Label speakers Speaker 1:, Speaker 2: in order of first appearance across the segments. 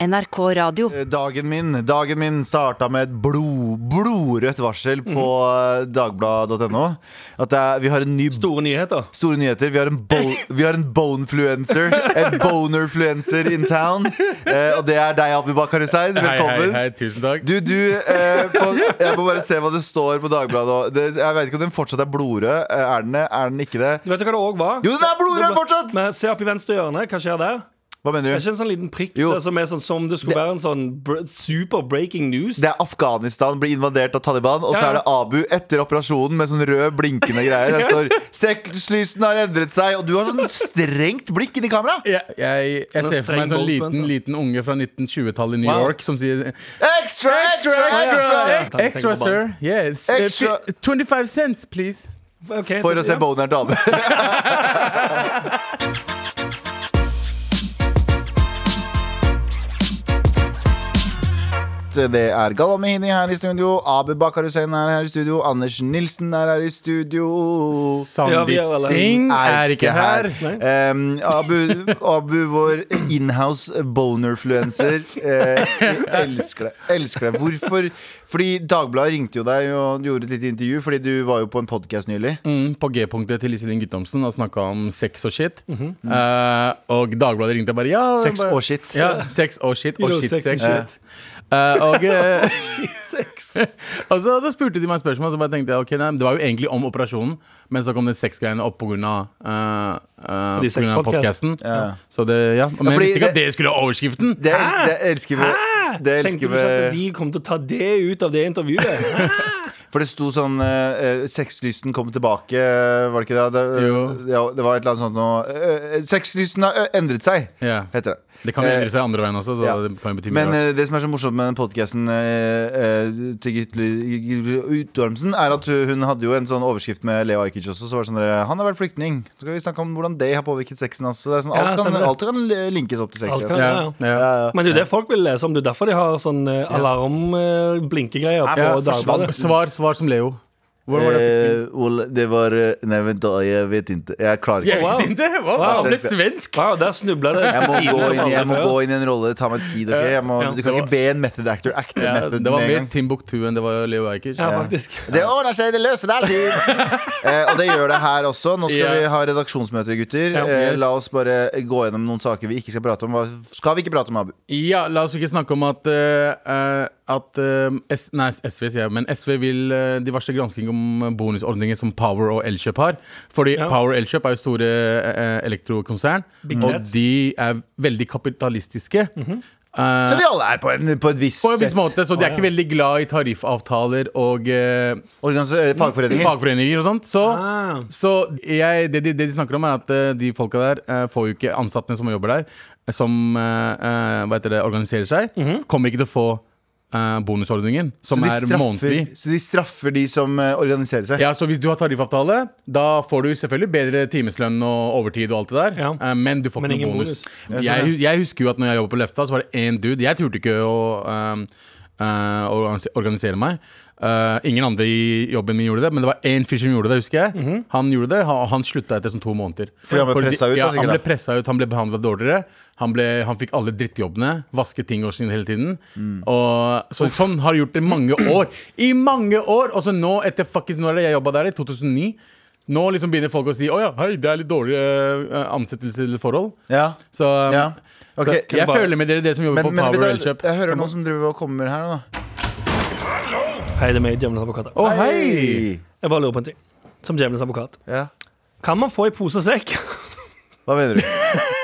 Speaker 1: NRK Radio.
Speaker 2: Dagen min, dagen min starta med et blod, blodrødt varsel på eh, dagbladet.no. At det er, vi har en ny
Speaker 3: Store nyheter.
Speaker 2: Store nyheter. Vi har en, bo, vi har en bonefluencer. En bonerfluencer in town. Eh, og det er deg, Abibakar Hussein. Velkommen.
Speaker 4: hei, tusen takk.
Speaker 2: Du, du eh, på, Jeg må bare se hva det står på Dagbladet. og Det, jeg vet ikke om den fortsatt er blodrød. Eh, Er den det? Er den ikke det?
Speaker 3: Du vet hva det òg var?
Speaker 2: Jo, den er blodrød fortsatt!
Speaker 3: Men se opp i venstre hjørne. Hva skjer der?
Speaker 2: Hva
Speaker 3: Det
Speaker 2: mener
Speaker 3: er
Speaker 2: du?
Speaker 3: ikke en sånn liten prikk
Speaker 2: Jo.
Speaker 3: der som er sånn som det skulle være en sånn br super breaking news.
Speaker 2: Det er Afghanistan blir invadert av Taliban, og så
Speaker 3: Ja, ja.
Speaker 2: er det Abu etter operasjonen med sånn rød, blinkende greier. Der står 'Sexlysten har endret seg', og du har sånn strengt blikk inni kamera.
Speaker 4: Jeg, jeg, jeg ser for meg en
Speaker 3: streng
Speaker 4: sånn liten,
Speaker 3: golfen, så.
Speaker 4: liten unge fra 1920-tallet i New
Speaker 3: Wow.
Speaker 4: York som sier
Speaker 2: Extra, extra,
Speaker 3: Ja, ja,
Speaker 2: extra!
Speaker 3: ja. Tenk- tenk
Speaker 4: Extra,
Speaker 3: på
Speaker 4: sir.
Speaker 3: barn.
Speaker 4: Yes. Eh,
Speaker 2: Extra.
Speaker 4: fi- 25 cents, please.
Speaker 3: Ok,
Speaker 2: For å se
Speaker 3: ja.
Speaker 2: boneren til Abu. Det er Galla Mehini her i studio, Abu Bakar Hussein er her i studio, Anders Nilsen er her i studio.
Speaker 3: Ja, vi er
Speaker 4: Sandeep
Speaker 3: alle-
Speaker 4: Singh er ikke her.
Speaker 2: Em, Ehm, Abu, Abu, vår inhouse bonerfluencer. Eh, jeg elsker det. elsker det Hvorfor? Fordi Dagbladet ringte jo deg og gjorde et lite intervju, fordi du var jo på en podkast nylig.
Speaker 4: Mm, på G-punktet til Iselin Guttomsen og snakka om sex og shit.
Speaker 3: Mhm.
Speaker 4: Eh, og Dagbladet ringte og bare ja,
Speaker 2: Sex
Speaker 4: bare,
Speaker 2: og shit.
Speaker 4: Ja, sex og shit
Speaker 3: You
Speaker 4: og
Speaker 3: know,
Speaker 4: shit,
Speaker 3: sex and
Speaker 4: sex.
Speaker 3: shit.
Speaker 4: Eh, og, eh,
Speaker 3: Shit, sex.
Speaker 4: og så, så spurte de meg spørsmål, så bare tenkte jeg ok, nei, det var jo egentlig om operasjonen, men så kom det sexgreiene opp pga. Uh,
Speaker 3: Fordi
Speaker 4: uh, podkasten.
Speaker 2: Ja.
Speaker 4: Så det, ja. Men jeg
Speaker 2: fordi
Speaker 4: visste ikke at
Speaker 2: det-
Speaker 4: det skulle være overskriften!
Speaker 2: Det, det elsker vi. Det
Speaker 3: Tenkte
Speaker 2: elsker
Speaker 3: du ikke at
Speaker 2: vi.
Speaker 3: de kom til å ta det ut av det intervjuet?
Speaker 2: For det sto sånn eh, eh, Sexlysten kom tilbake, eh, var det ikke det? Det,
Speaker 4: Jo.
Speaker 2: ja, det var et eller annet sånt noe eh, eh, Sexlysten har eh, endret seg,
Speaker 4: Ja.
Speaker 2: heter det.
Speaker 4: Det kan jo
Speaker 2: Eh,
Speaker 4: endre seg andre veien også, så
Speaker 2: ja.
Speaker 4: det kan jo bety mye.
Speaker 2: Men
Speaker 4: rart.
Speaker 2: eh, det som er så morsomt med den podkasten til Gitle Utormsen, er at hun- hun hadde jo en sånn overskrift med Leo Ajkic også. Så var det sånn der, Han har vært flyktning. Så skal vi snakke om hvordan det har påvirket sexen hans. Så det er sånn,
Speaker 3: Ja,
Speaker 2: alt, kan,
Speaker 3: stemmer det.
Speaker 2: alt kan linkes opp til sex.
Speaker 3: Alt kan-
Speaker 2: ja.
Speaker 4: ja,
Speaker 3: ja,
Speaker 4: ja.
Speaker 2: Ja, ja.
Speaker 3: Men det er jo det folk vil lese om. Det er derfor de har sånn eh, alarm-blinkegreier på
Speaker 2: Ja, forsvant.
Speaker 3: Dagbladet.
Speaker 4: Svar, svar som Leo. Hvor var det?
Speaker 2: Eh, Ole, det var eh, Nei, vent, da. Jeg vet ikke. Jeg klarer
Speaker 4: Jeg
Speaker 2: ikke.
Speaker 3: wow.
Speaker 4: vet ikke! Wow,
Speaker 3: Wow.
Speaker 4: Han ble svensk!
Speaker 3: Wow, der snubla det
Speaker 2: Jeg
Speaker 3: til
Speaker 2: må,
Speaker 3: siden.
Speaker 2: gå
Speaker 3: som
Speaker 2: inn, i- jeg
Speaker 3: aldri
Speaker 2: må
Speaker 3: før.
Speaker 2: gå inn i en rolle. Ta meg tid. ok? Jeg må,
Speaker 3: Ja.
Speaker 2: du kan ikke be en method actor acte
Speaker 4: Ja,
Speaker 2: method
Speaker 4: det var
Speaker 2: med en
Speaker 4: mer
Speaker 2: gang.
Speaker 4: Timbuktu enn det var Leo Ajkic.
Speaker 3: Ja, faktisk.
Speaker 2: Det ordner seg, det løser det alltid! eh, og det gjør det her også. Nå skal
Speaker 4: Ja.
Speaker 2: vi ha redaksjonsmøte, gutter.
Speaker 3: Ja,
Speaker 2: eh,
Speaker 4: yes.
Speaker 2: la oss bare gå gjennom noen saker vi ikke skal prate om. Hva skal vi ikke prate om, Abu?
Speaker 4: Ja, la oss ikke snakke om at, eh, eh, at eh, S Nei, SV sier jeg, men SV vil eh, de varsler gransking om eh, bonusordninger som Power og Elkjøp har. Fordi
Speaker 3: Ja.
Speaker 4: Power og Elkjøp er jo store eh, elektrokonsern,
Speaker 3: Big Mhm.
Speaker 4: og
Speaker 3: cats.
Speaker 4: de er veldig kapitalistiske. Eh,
Speaker 2: Så vi alle er på, en, på et visst
Speaker 4: på en
Speaker 2: sett.
Speaker 4: viss måte, så de er
Speaker 3: Å,
Speaker 4: ikke veldig glad i tariffavtaler og eh,
Speaker 2: Organis eh, fagforeninger.
Speaker 4: fagforeninger og sånt. Så,
Speaker 3: Ah.
Speaker 4: så jeg, det, de, det de snakker om, er at eh, de folka der eh, får jo ikke ansattene som jobber der, eh, som eh, eh, hva heter det, organiserer seg, kommer ikke til å få eh,
Speaker 2: Mhm.
Speaker 4: bonusordningen,
Speaker 2: Så
Speaker 4: som
Speaker 2: de
Speaker 4: er
Speaker 2: straffer,
Speaker 4: månedlig.
Speaker 2: så de straffer de som eh, organiserer seg.
Speaker 4: Ja, så Hvis du har tariffavtale, da får du selvfølgelig bedre timeslønn og overtid, og alt det der
Speaker 3: Ja.
Speaker 4: eh, men du får
Speaker 3: Men
Speaker 4: ikke noen
Speaker 3: ingen
Speaker 4: bonus.
Speaker 2: bonus. Jeg
Speaker 4: Jeg,
Speaker 2: skjønner.
Speaker 4: hus- jeg husker jo at når jeg jobba på Lefta, så var det én dude Jeg turte ikke å eh, eh, organise- organisere meg. Eh, ingen andre i jobben min gjorde det, men det var én fyr som gjorde det. husker jeg
Speaker 3: Mhm.
Speaker 4: Han gjorde det, han, han slutta etter sånn to måneder.
Speaker 2: Fordi han ble
Speaker 4: Fordi-
Speaker 2: presset ut, da,
Speaker 4: Ja, han
Speaker 2: sikkert,
Speaker 4: ble
Speaker 2: da.
Speaker 4: pressa ut, han ble behandla dårligere. Han, ble, han fikk alle drittjobbene, vasket tingene sine hele tiden.
Speaker 2: Mm.
Speaker 4: Og, så, sånn har jeg gjort det i mange år. I mange år! Og så nå, etter fuckings når jeg jobba der i 2009 nå liksom begynner folk å si Å ja, hei, det er litt dårlige eh, ansettelsesforhold.
Speaker 2: Ja.
Speaker 4: Så,
Speaker 2: Ja. Ok,
Speaker 4: Um, så
Speaker 2: kan
Speaker 4: jeg
Speaker 2: bare-
Speaker 4: føler med dere, dere som jobber
Speaker 2: Men,
Speaker 4: på
Speaker 2: men
Speaker 4: Power
Speaker 2: vet du,
Speaker 4: Elkjøp.
Speaker 2: jeg hører noen som driver og kommer her nå. da.
Speaker 3: Hei, det er meg, Djevelens advokat.
Speaker 4: Å, hei!
Speaker 3: Jeg bare lurer på en ting. Som Djevelens advokat.
Speaker 2: Ja.
Speaker 3: Kan man få i pose og sekk?
Speaker 2: Hva mener du?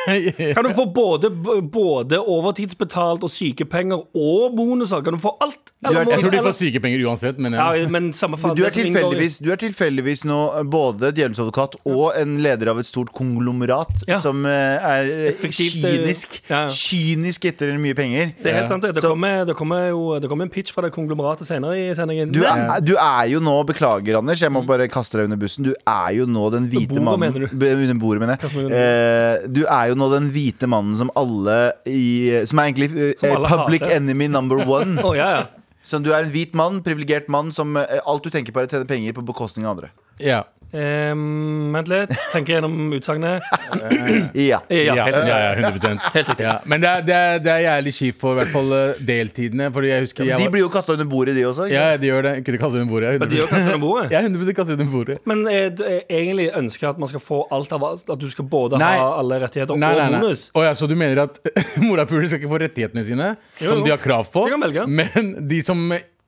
Speaker 3: Kan du få både, både overtidsbetalt og sykepenger og bonuser? Kan du få alt? Eller
Speaker 2: er-
Speaker 3: må-
Speaker 4: Jeg tror de
Speaker 3: eller-
Speaker 4: får sykepenger uansett, men ja.
Speaker 3: ja, men samme faen,
Speaker 2: Du er
Speaker 3: det som inngår i-
Speaker 2: tilfeldigvis, du er tilfeldigvis nå eh, både djevelens advokat og en leder av et stort konglomerat
Speaker 3: Ja.
Speaker 2: som eh, er
Speaker 3: fiktivt, eh,
Speaker 2: kynisk,
Speaker 3: ja, ja.
Speaker 2: kynisk etter mye penger.
Speaker 3: Det er helt sant. Det, det,
Speaker 2: Så-
Speaker 3: kommer, det, kommer jo, det kommer en pitch fra det konglomeratet senere i sendingen.
Speaker 2: Du
Speaker 3: Men-
Speaker 2: er, du er jo nå, beklager Anders, jeg må bare kaste deg under bussen. Du er jo nå den hvite
Speaker 3: Mm. bordet,
Speaker 2: mannen
Speaker 3: mener du?
Speaker 2: B- Under bordet, mener
Speaker 3: Kaste
Speaker 2: jeg.
Speaker 3: meg under
Speaker 2: Eh, du er jo nå den hvite mannen som alle i Som er egentlig eh,
Speaker 3: Som alle
Speaker 2: public
Speaker 3: hater.
Speaker 2: enemy number one.
Speaker 3: Å, ja, ja.
Speaker 2: Så du er en hvit mann, privilegert mann, som eh, alt du tenker på er å tjene penger på bekostning av andre.
Speaker 4: ja.
Speaker 3: Ehm, vent litt. Tenker gjennom utsagnet. Mm. Eh,
Speaker 2: Ja.
Speaker 3: Ja,
Speaker 4: Ja,
Speaker 3: helt
Speaker 4: ja, ja, 100 ja. Men det er, det, er, det er jævlig kjipt for i hvert fall eh, deltidene. Fordi jeg husker jeg
Speaker 2: De
Speaker 4: var-
Speaker 2: blir jo kasta under bordet, de også. Ikke?
Speaker 4: Ja, de gjør det. Kunne kaste under bordet.
Speaker 3: De gjør kanskje under bordet.
Speaker 4: Jeg er 100 kastet under bordet.
Speaker 3: Men eh, d- eh, egentlig ønsker jeg at man skal få alt av alt. At du skal både
Speaker 4: Nei.
Speaker 3: ha alle rettigheter
Speaker 4: Nei, nei,
Speaker 3: og
Speaker 4: nei.
Speaker 3: bonus.
Speaker 4: Å ja, så du mener at morapuler skal ikke få rettighetene sine,
Speaker 3: Jo,
Speaker 4: som
Speaker 3: jo.
Speaker 4: de har krav på,
Speaker 3: De kan velge.
Speaker 4: men de som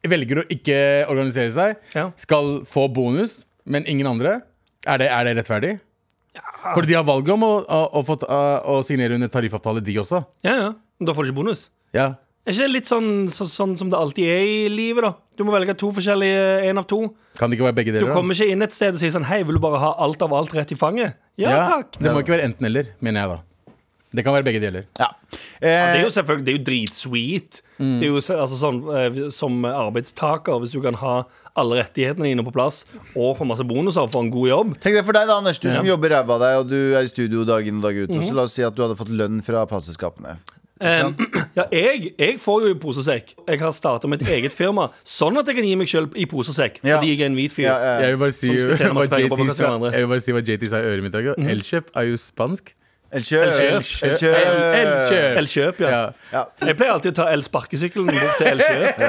Speaker 4: velger å ikke organisere seg,
Speaker 3: Ja.
Speaker 4: skal få bonus, men ingen andre? Er det, er det rettferdig? Fordi de har valget om å, å, å, få, ta- å signere under tariffavtale, de også.
Speaker 3: Ja, ja. Men Da får du ikke bonus.
Speaker 4: Ja.
Speaker 3: Er ikke det litt sånn, så, sånn som det alltid er i livet, da? Du må velge to forskjellige, én av to.
Speaker 4: Kan det ikke være begge
Speaker 3: Du
Speaker 4: deler? da?
Speaker 3: kommer ikke inn et sted og sier sånn Hei, vil du bare ha alt av alt rett i fanget? Ja,
Speaker 4: Ja,
Speaker 3: takk.
Speaker 4: Det må ikke være enten-eller, mener jeg da. Det kan være begge deler.
Speaker 2: Ja.
Speaker 3: Det er
Speaker 2: Eh,
Speaker 3: jo selvfølgelig, det er jo dritsweet. Det er jo så- altså, sånn, eh, som arbeidstaker, hvis du kan ha alle rettighetene dine på plass og få masse bonuser for en god jobb.
Speaker 2: tenk deg for deg, da, Anders. Du som jobber ræva av deg, og du er i studio dag inn og dag ut. Og så la oss si at du hadde fått lønn fra plateselskapene.
Speaker 3: Eh, ja, jeg, jeg får jo i pose og sekk. Jeg har starta mitt eget firma, sånn at jeg kan gi meg sjøl i pose og sekk.
Speaker 2: Ja.
Speaker 3: Fordi jeg er en hvit fyr.
Speaker 2: Ja, ja, ja.
Speaker 4: Jeg vil bare si,
Speaker 3: Som skal tjene
Speaker 4: hva
Speaker 3: masse penger på å
Speaker 4: JT,
Speaker 3: kaste
Speaker 4: sa,
Speaker 3: hverandre.
Speaker 4: jeg vil bare si hva JT sa i øret mitt. i dag. Elkjøp er jo spansk.
Speaker 2: Elkjø.
Speaker 3: Elkjøp.
Speaker 2: Elkjø.
Speaker 4: Elkjøp.
Speaker 3: El Kjøp, ja.
Speaker 4: Ja.
Speaker 2: Ja,
Speaker 3: Jeg pleier alltid å ta elsparkesykkelen bort til El Kjøp.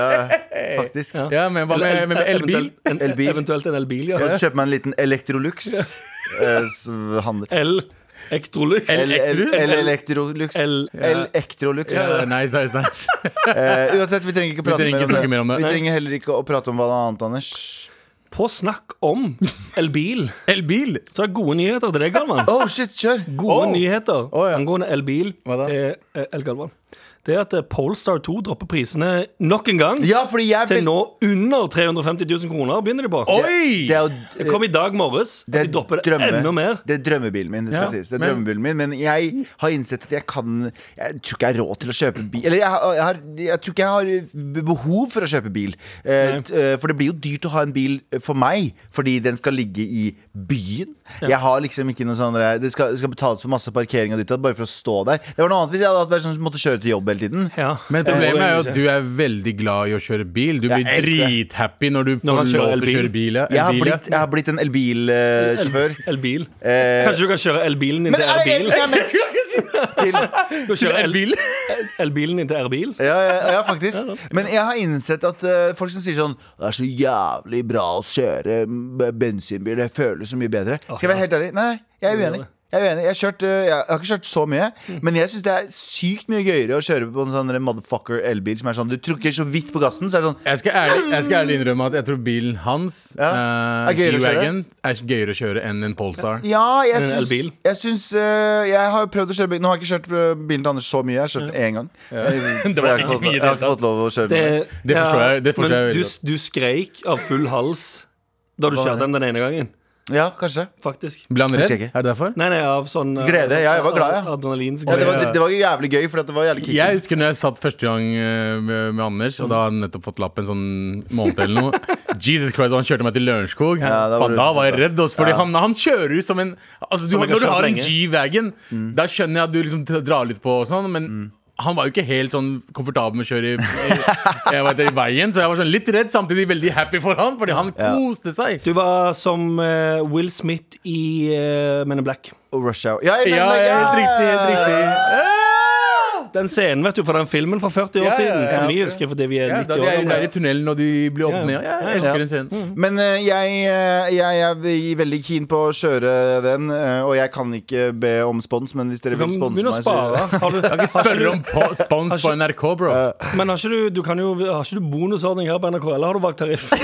Speaker 2: faktisk.
Speaker 3: Ja.
Speaker 4: ja, men hva med, med, med elbil?
Speaker 3: Eventuelt en,
Speaker 2: Elbil.
Speaker 3: eventuelt en elbil,
Speaker 2: Og
Speaker 3: ja.
Speaker 2: så kjøper man en liten Electrolux. eh, s- handel.
Speaker 3: El Ektrolux.
Speaker 2: El- el- el-
Speaker 3: El-
Speaker 2: Electrolux.
Speaker 3: El-
Speaker 2: Electrolux.
Speaker 4: Ja, nice, nice, nice.
Speaker 2: Eh, uansett, vi trenger ikke prate
Speaker 4: trenger ikke snakke mer om det.
Speaker 2: Vi
Speaker 4: Nei.
Speaker 2: trenger heller ikke å prate om hva annet, Anders.
Speaker 3: På snakk om elbil,
Speaker 4: Elbil!
Speaker 3: så er det gode nyheter til deg, Galvan.
Speaker 2: Oh, shit, kjør!
Speaker 3: Gode
Speaker 4: Oh.
Speaker 3: nyheter
Speaker 4: Å, ja.
Speaker 3: angående elbil
Speaker 4: Hva da?
Speaker 3: til eh, El Galvan. Det er at eh, Polestar 2 dropper prisene nok en gang.
Speaker 2: Ja, fordi jeg
Speaker 3: Til
Speaker 2: vil
Speaker 3: nå under 350 000 kroner begynner de på.
Speaker 4: Oi!
Speaker 2: Det er jo
Speaker 3: Det kom i dag morges. At
Speaker 2: det er
Speaker 3: de dropper det
Speaker 2: drømme-
Speaker 3: enda mer.
Speaker 2: Det er drømmebilen min, det skal
Speaker 4: Ja,
Speaker 2: sies. Det er
Speaker 4: men-
Speaker 2: drømmebilen min Men jeg har innsett at jeg kan Jeg tror ikke jeg har råd til å kjøpe bil. Eller jeg, har- jeg, har, jeg tror ikke jeg har b- behov for å kjøpe bil. Eh,
Speaker 3: Nei.
Speaker 2: t- eh, for det blir jo dyrt å ha en bil eh, for meg, fordi den skal ligge i byen. Jeg har liksom ikke noe sånn der- Det skal, det skal betales for masse parkering og ditt og datt, bare for å stå der. Det var noe annet hvis jeg hadde hatt vært sånn som måtte kjøre til jobb hele tiden.
Speaker 3: Ja.
Speaker 4: Men problemet er jo at du er veldig glad i å kjøre bil. Du blir
Speaker 2: Jeg elsker det.
Speaker 4: drithappy når du får
Speaker 3: man kjører
Speaker 4: lov til å
Speaker 3: elbil.
Speaker 4: kjøre bil. ja.
Speaker 2: Jeg har
Speaker 4: Elbil, ja.
Speaker 2: blitt, jeg har blitt en elbilsjåfør.
Speaker 3: Elbil.
Speaker 2: Eh,
Speaker 3: Kanskje du kan kjøre elbilen din
Speaker 2: men
Speaker 3: til
Speaker 2: er det
Speaker 3: elbil?
Speaker 2: egentlig jeg mener?
Speaker 3: Du kan kjøre el-
Speaker 4: Elbil?
Speaker 3: elbilen din til elbil?
Speaker 2: Ja, ja, ja faktisk. Men jeg har innsett at eh, folk som sier sånn Det er så jævlig bra å kjøre b- bensinbil, det føles så mye bedre. Skal jeg være helt ærlig? Nei, jeg er uenig. Jeg er uenig, jeg har, kjørt, eh, jeg har ikke kjørt så mye, men jeg syns det er sykt mye gøyere å kjøre på en sånn der motherfucker elbil som er sånn Du trykker så vidt på gassen, så er det sånn
Speaker 4: Jeg skal, ærlig, jeg skal ærlig innrømme at jeg tror bilen hans,
Speaker 2: Ja.
Speaker 4: eh,
Speaker 2: Er gøyere å kjøre?
Speaker 4: G-Wagon, er gøyere å kjøre enn en Polestar.
Speaker 2: Ja, jeg
Speaker 3: En
Speaker 2: syns,
Speaker 3: elbil.
Speaker 2: jeg, syns eh, jeg har prøvd å kjøre bil. Nå har jeg ikke kjørt eh, bilen til Anders så mye. Jeg har kjørt én gang. For jeg,
Speaker 4: var
Speaker 2: har
Speaker 4: ikke
Speaker 2: ikke fått,
Speaker 4: mye i
Speaker 2: jeg
Speaker 4: det
Speaker 2: har ikke fått lov å kjøre den.
Speaker 3: Det,
Speaker 4: Det forstår jeg- det forstår
Speaker 3: men
Speaker 4: jeg veldig
Speaker 3: du, du skreik av full hals da du
Speaker 2: Hva var
Speaker 3: kjørte den den ene gangen,
Speaker 2: Ja, kanskje.
Speaker 3: faktisk.
Speaker 4: Ble han redd?
Speaker 2: Jeg husker
Speaker 4: Er
Speaker 2: ikke.
Speaker 4: det derfor?
Speaker 3: Nei, nei, av sånn eh,
Speaker 2: Glede, ja, jeg var glad, ja. Ja, det,
Speaker 3: Adrenalinsglede.
Speaker 2: var, det, det var jævlig gøy, for det var jævlig kick.
Speaker 4: Jeg husker når jeg satt første gang eh, med, med Anders, og da hadde han nettopp fått lappen sånn måned eller noe. Jesus Christ, og han kjørte meg til Lørenskog. Han-
Speaker 2: Ja, da var
Speaker 4: faen,
Speaker 2: du
Speaker 4: da var jeg
Speaker 2: så
Speaker 4: redd, også, fordi han, han kjører jo som en altså,
Speaker 3: Som
Speaker 4: du,
Speaker 3: jeg har
Speaker 4: Når du
Speaker 3: kjørt
Speaker 4: har en
Speaker 3: lenge.
Speaker 4: G-Wagon, da skjønner jeg at du liksom t- drar litt på og sånn, men han var jo ikke helt sånn komfortabel med å kjøre i, i, jeg vet, i veien, så jeg var sånn litt redd, samtidig veldig happy for han, fordi han koste seg.
Speaker 3: Du var som eh, Will Smith i uh, Men in Black.
Speaker 2: Og Rush Hour. Ja, jeg
Speaker 4: Ja,
Speaker 2: mener,
Speaker 4: ja, helt riktig. helt riktig
Speaker 3: Den scenen vet du fra den filmen fra 40 år
Speaker 4: Ja, ja,
Speaker 3: siden,
Speaker 4: ja,
Speaker 3: som
Speaker 4: ja.
Speaker 3: vi husker fordi vi er
Speaker 4: ja, Da
Speaker 3: 90
Speaker 4: de
Speaker 3: år
Speaker 4: er der i
Speaker 3: gamle.
Speaker 4: tunnelen og de blir opp
Speaker 3: Ja.
Speaker 4: ned. Ja, jeg
Speaker 2: Ja.
Speaker 4: elsker den scenen.
Speaker 2: Men eh, jeg, eh, jeg er ve- veldig keen på å kjøre den, eh, og jeg kan ikke be om spons, men hvis dere
Speaker 3: Du
Speaker 2: vil
Speaker 3: kan
Speaker 2: sponse
Speaker 3: begynne å
Speaker 2: meg,
Speaker 3: spare.
Speaker 2: så
Speaker 3: Har du, har ikke
Speaker 4: Spør
Speaker 3: du-
Speaker 4: om po- spons på NRK, bro.
Speaker 3: men har ikke du, du kan jo, har ikke du bonusordning her på NRK, eller har du valgt tariff?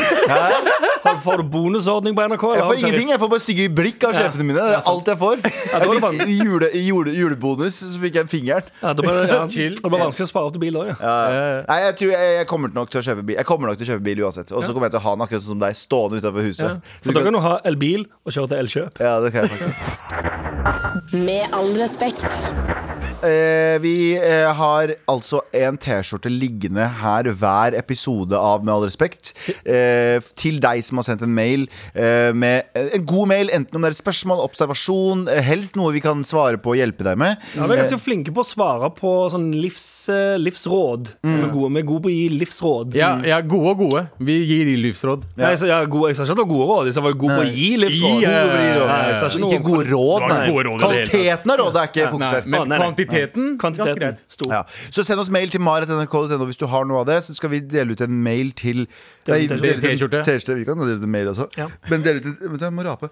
Speaker 3: Har, får du bonusordning på NRK? Eller
Speaker 2: Jeg
Speaker 3: har
Speaker 2: får
Speaker 3: du tariff?
Speaker 2: ingenting. Jeg får bare stygge blikk av
Speaker 3: Ja,
Speaker 2: sjefene mine.
Speaker 3: det
Speaker 2: Det
Speaker 3: er
Speaker 2: er alt jeg får.
Speaker 3: det
Speaker 2: Jeg
Speaker 3: var
Speaker 2: fikk i jule, i jule, julebonus, så fikk jeg fingeren.
Speaker 3: Ja, det blir ja,
Speaker 4: Chill.
Speaker 3: det blir vanskelig å spare opp til bil òg, ja.
Speaker 4: Ja, ja.
Speaker 2: Nei, jeg tror jeg, jeg kommer nok til å kjøpe bil Jeg kommer nok til å kjøpe bil uansett. Og så kommer jeg til å ha den akkurat sånn som deg, stående utenfor huset. Så du
Speaker 3: For da
Speaker 2: kan-
Speaker 3: kan du ha elbil og kjøre til Elkjøp.
Speaker 2: Ja, det kan jeg faktisk.
Speaker 1: Med all respekt.
Speaker 2: eh, vi eh, har altså en T-skjorte liggende her hver episode av Med all respekt. Eh, til deg som har sendt en mail eh, med eh, en god mail, enten om det er et spørsmål, observasjon, eh, helst noe vi kan svare på og hjelpe deg med.
Speaker 3: Ja, Vi er ganske flinke på å svare på sånn livs, eh, livsråd.
Speaker 2: Mm.
Speaker 3: Vi er gode- vi er gode på å gi livsråd.
Speaker 4: Ja, ja, gode og gode. Vi gir de livsråd.
Speaker 3: Nei, jeg, sa- ja, gode, jeg sa ikke at det var gode råd, jeg sa bare gode på å gi livsråd.
Speaker 4: Gi, eh,
Speaker 3: Nei, jeg sa ikke noe
Speaker 2: Ikke
Speaker 3: om-
Speaker 2: gode råd,
Speaker 3: Det var
Speaker 2: nei.
Speaker 3: ikke gode råd i det hele tatt.
Speaker 2: Kvaliteten av rådet er ikke
Speaker 4: Nei,
Speaker 2: fokusert.
Speaker 4: men
Speaker 3: Å, nei, nei.
Speaker 4: kvantiteten ganske
Speaker 3: Kvantiteten
Speaker 4: greit.
Speaker 3: stor.
Speaker 2: Ja. Så send oss mail til maret.nrk.no hvis du har noe av det. Så skal vi dele ut en mail til Nei,
Speaker 3: T-skjorte.
Speaker 2: dele ut en
Speaker 4: T-skjorte.
Speaker 2: T-skjorte. Vi kan dele ut en mail også.
Speaker 3: Ja.
Speaker 2: Men dele ut en Vent, jeg må rape.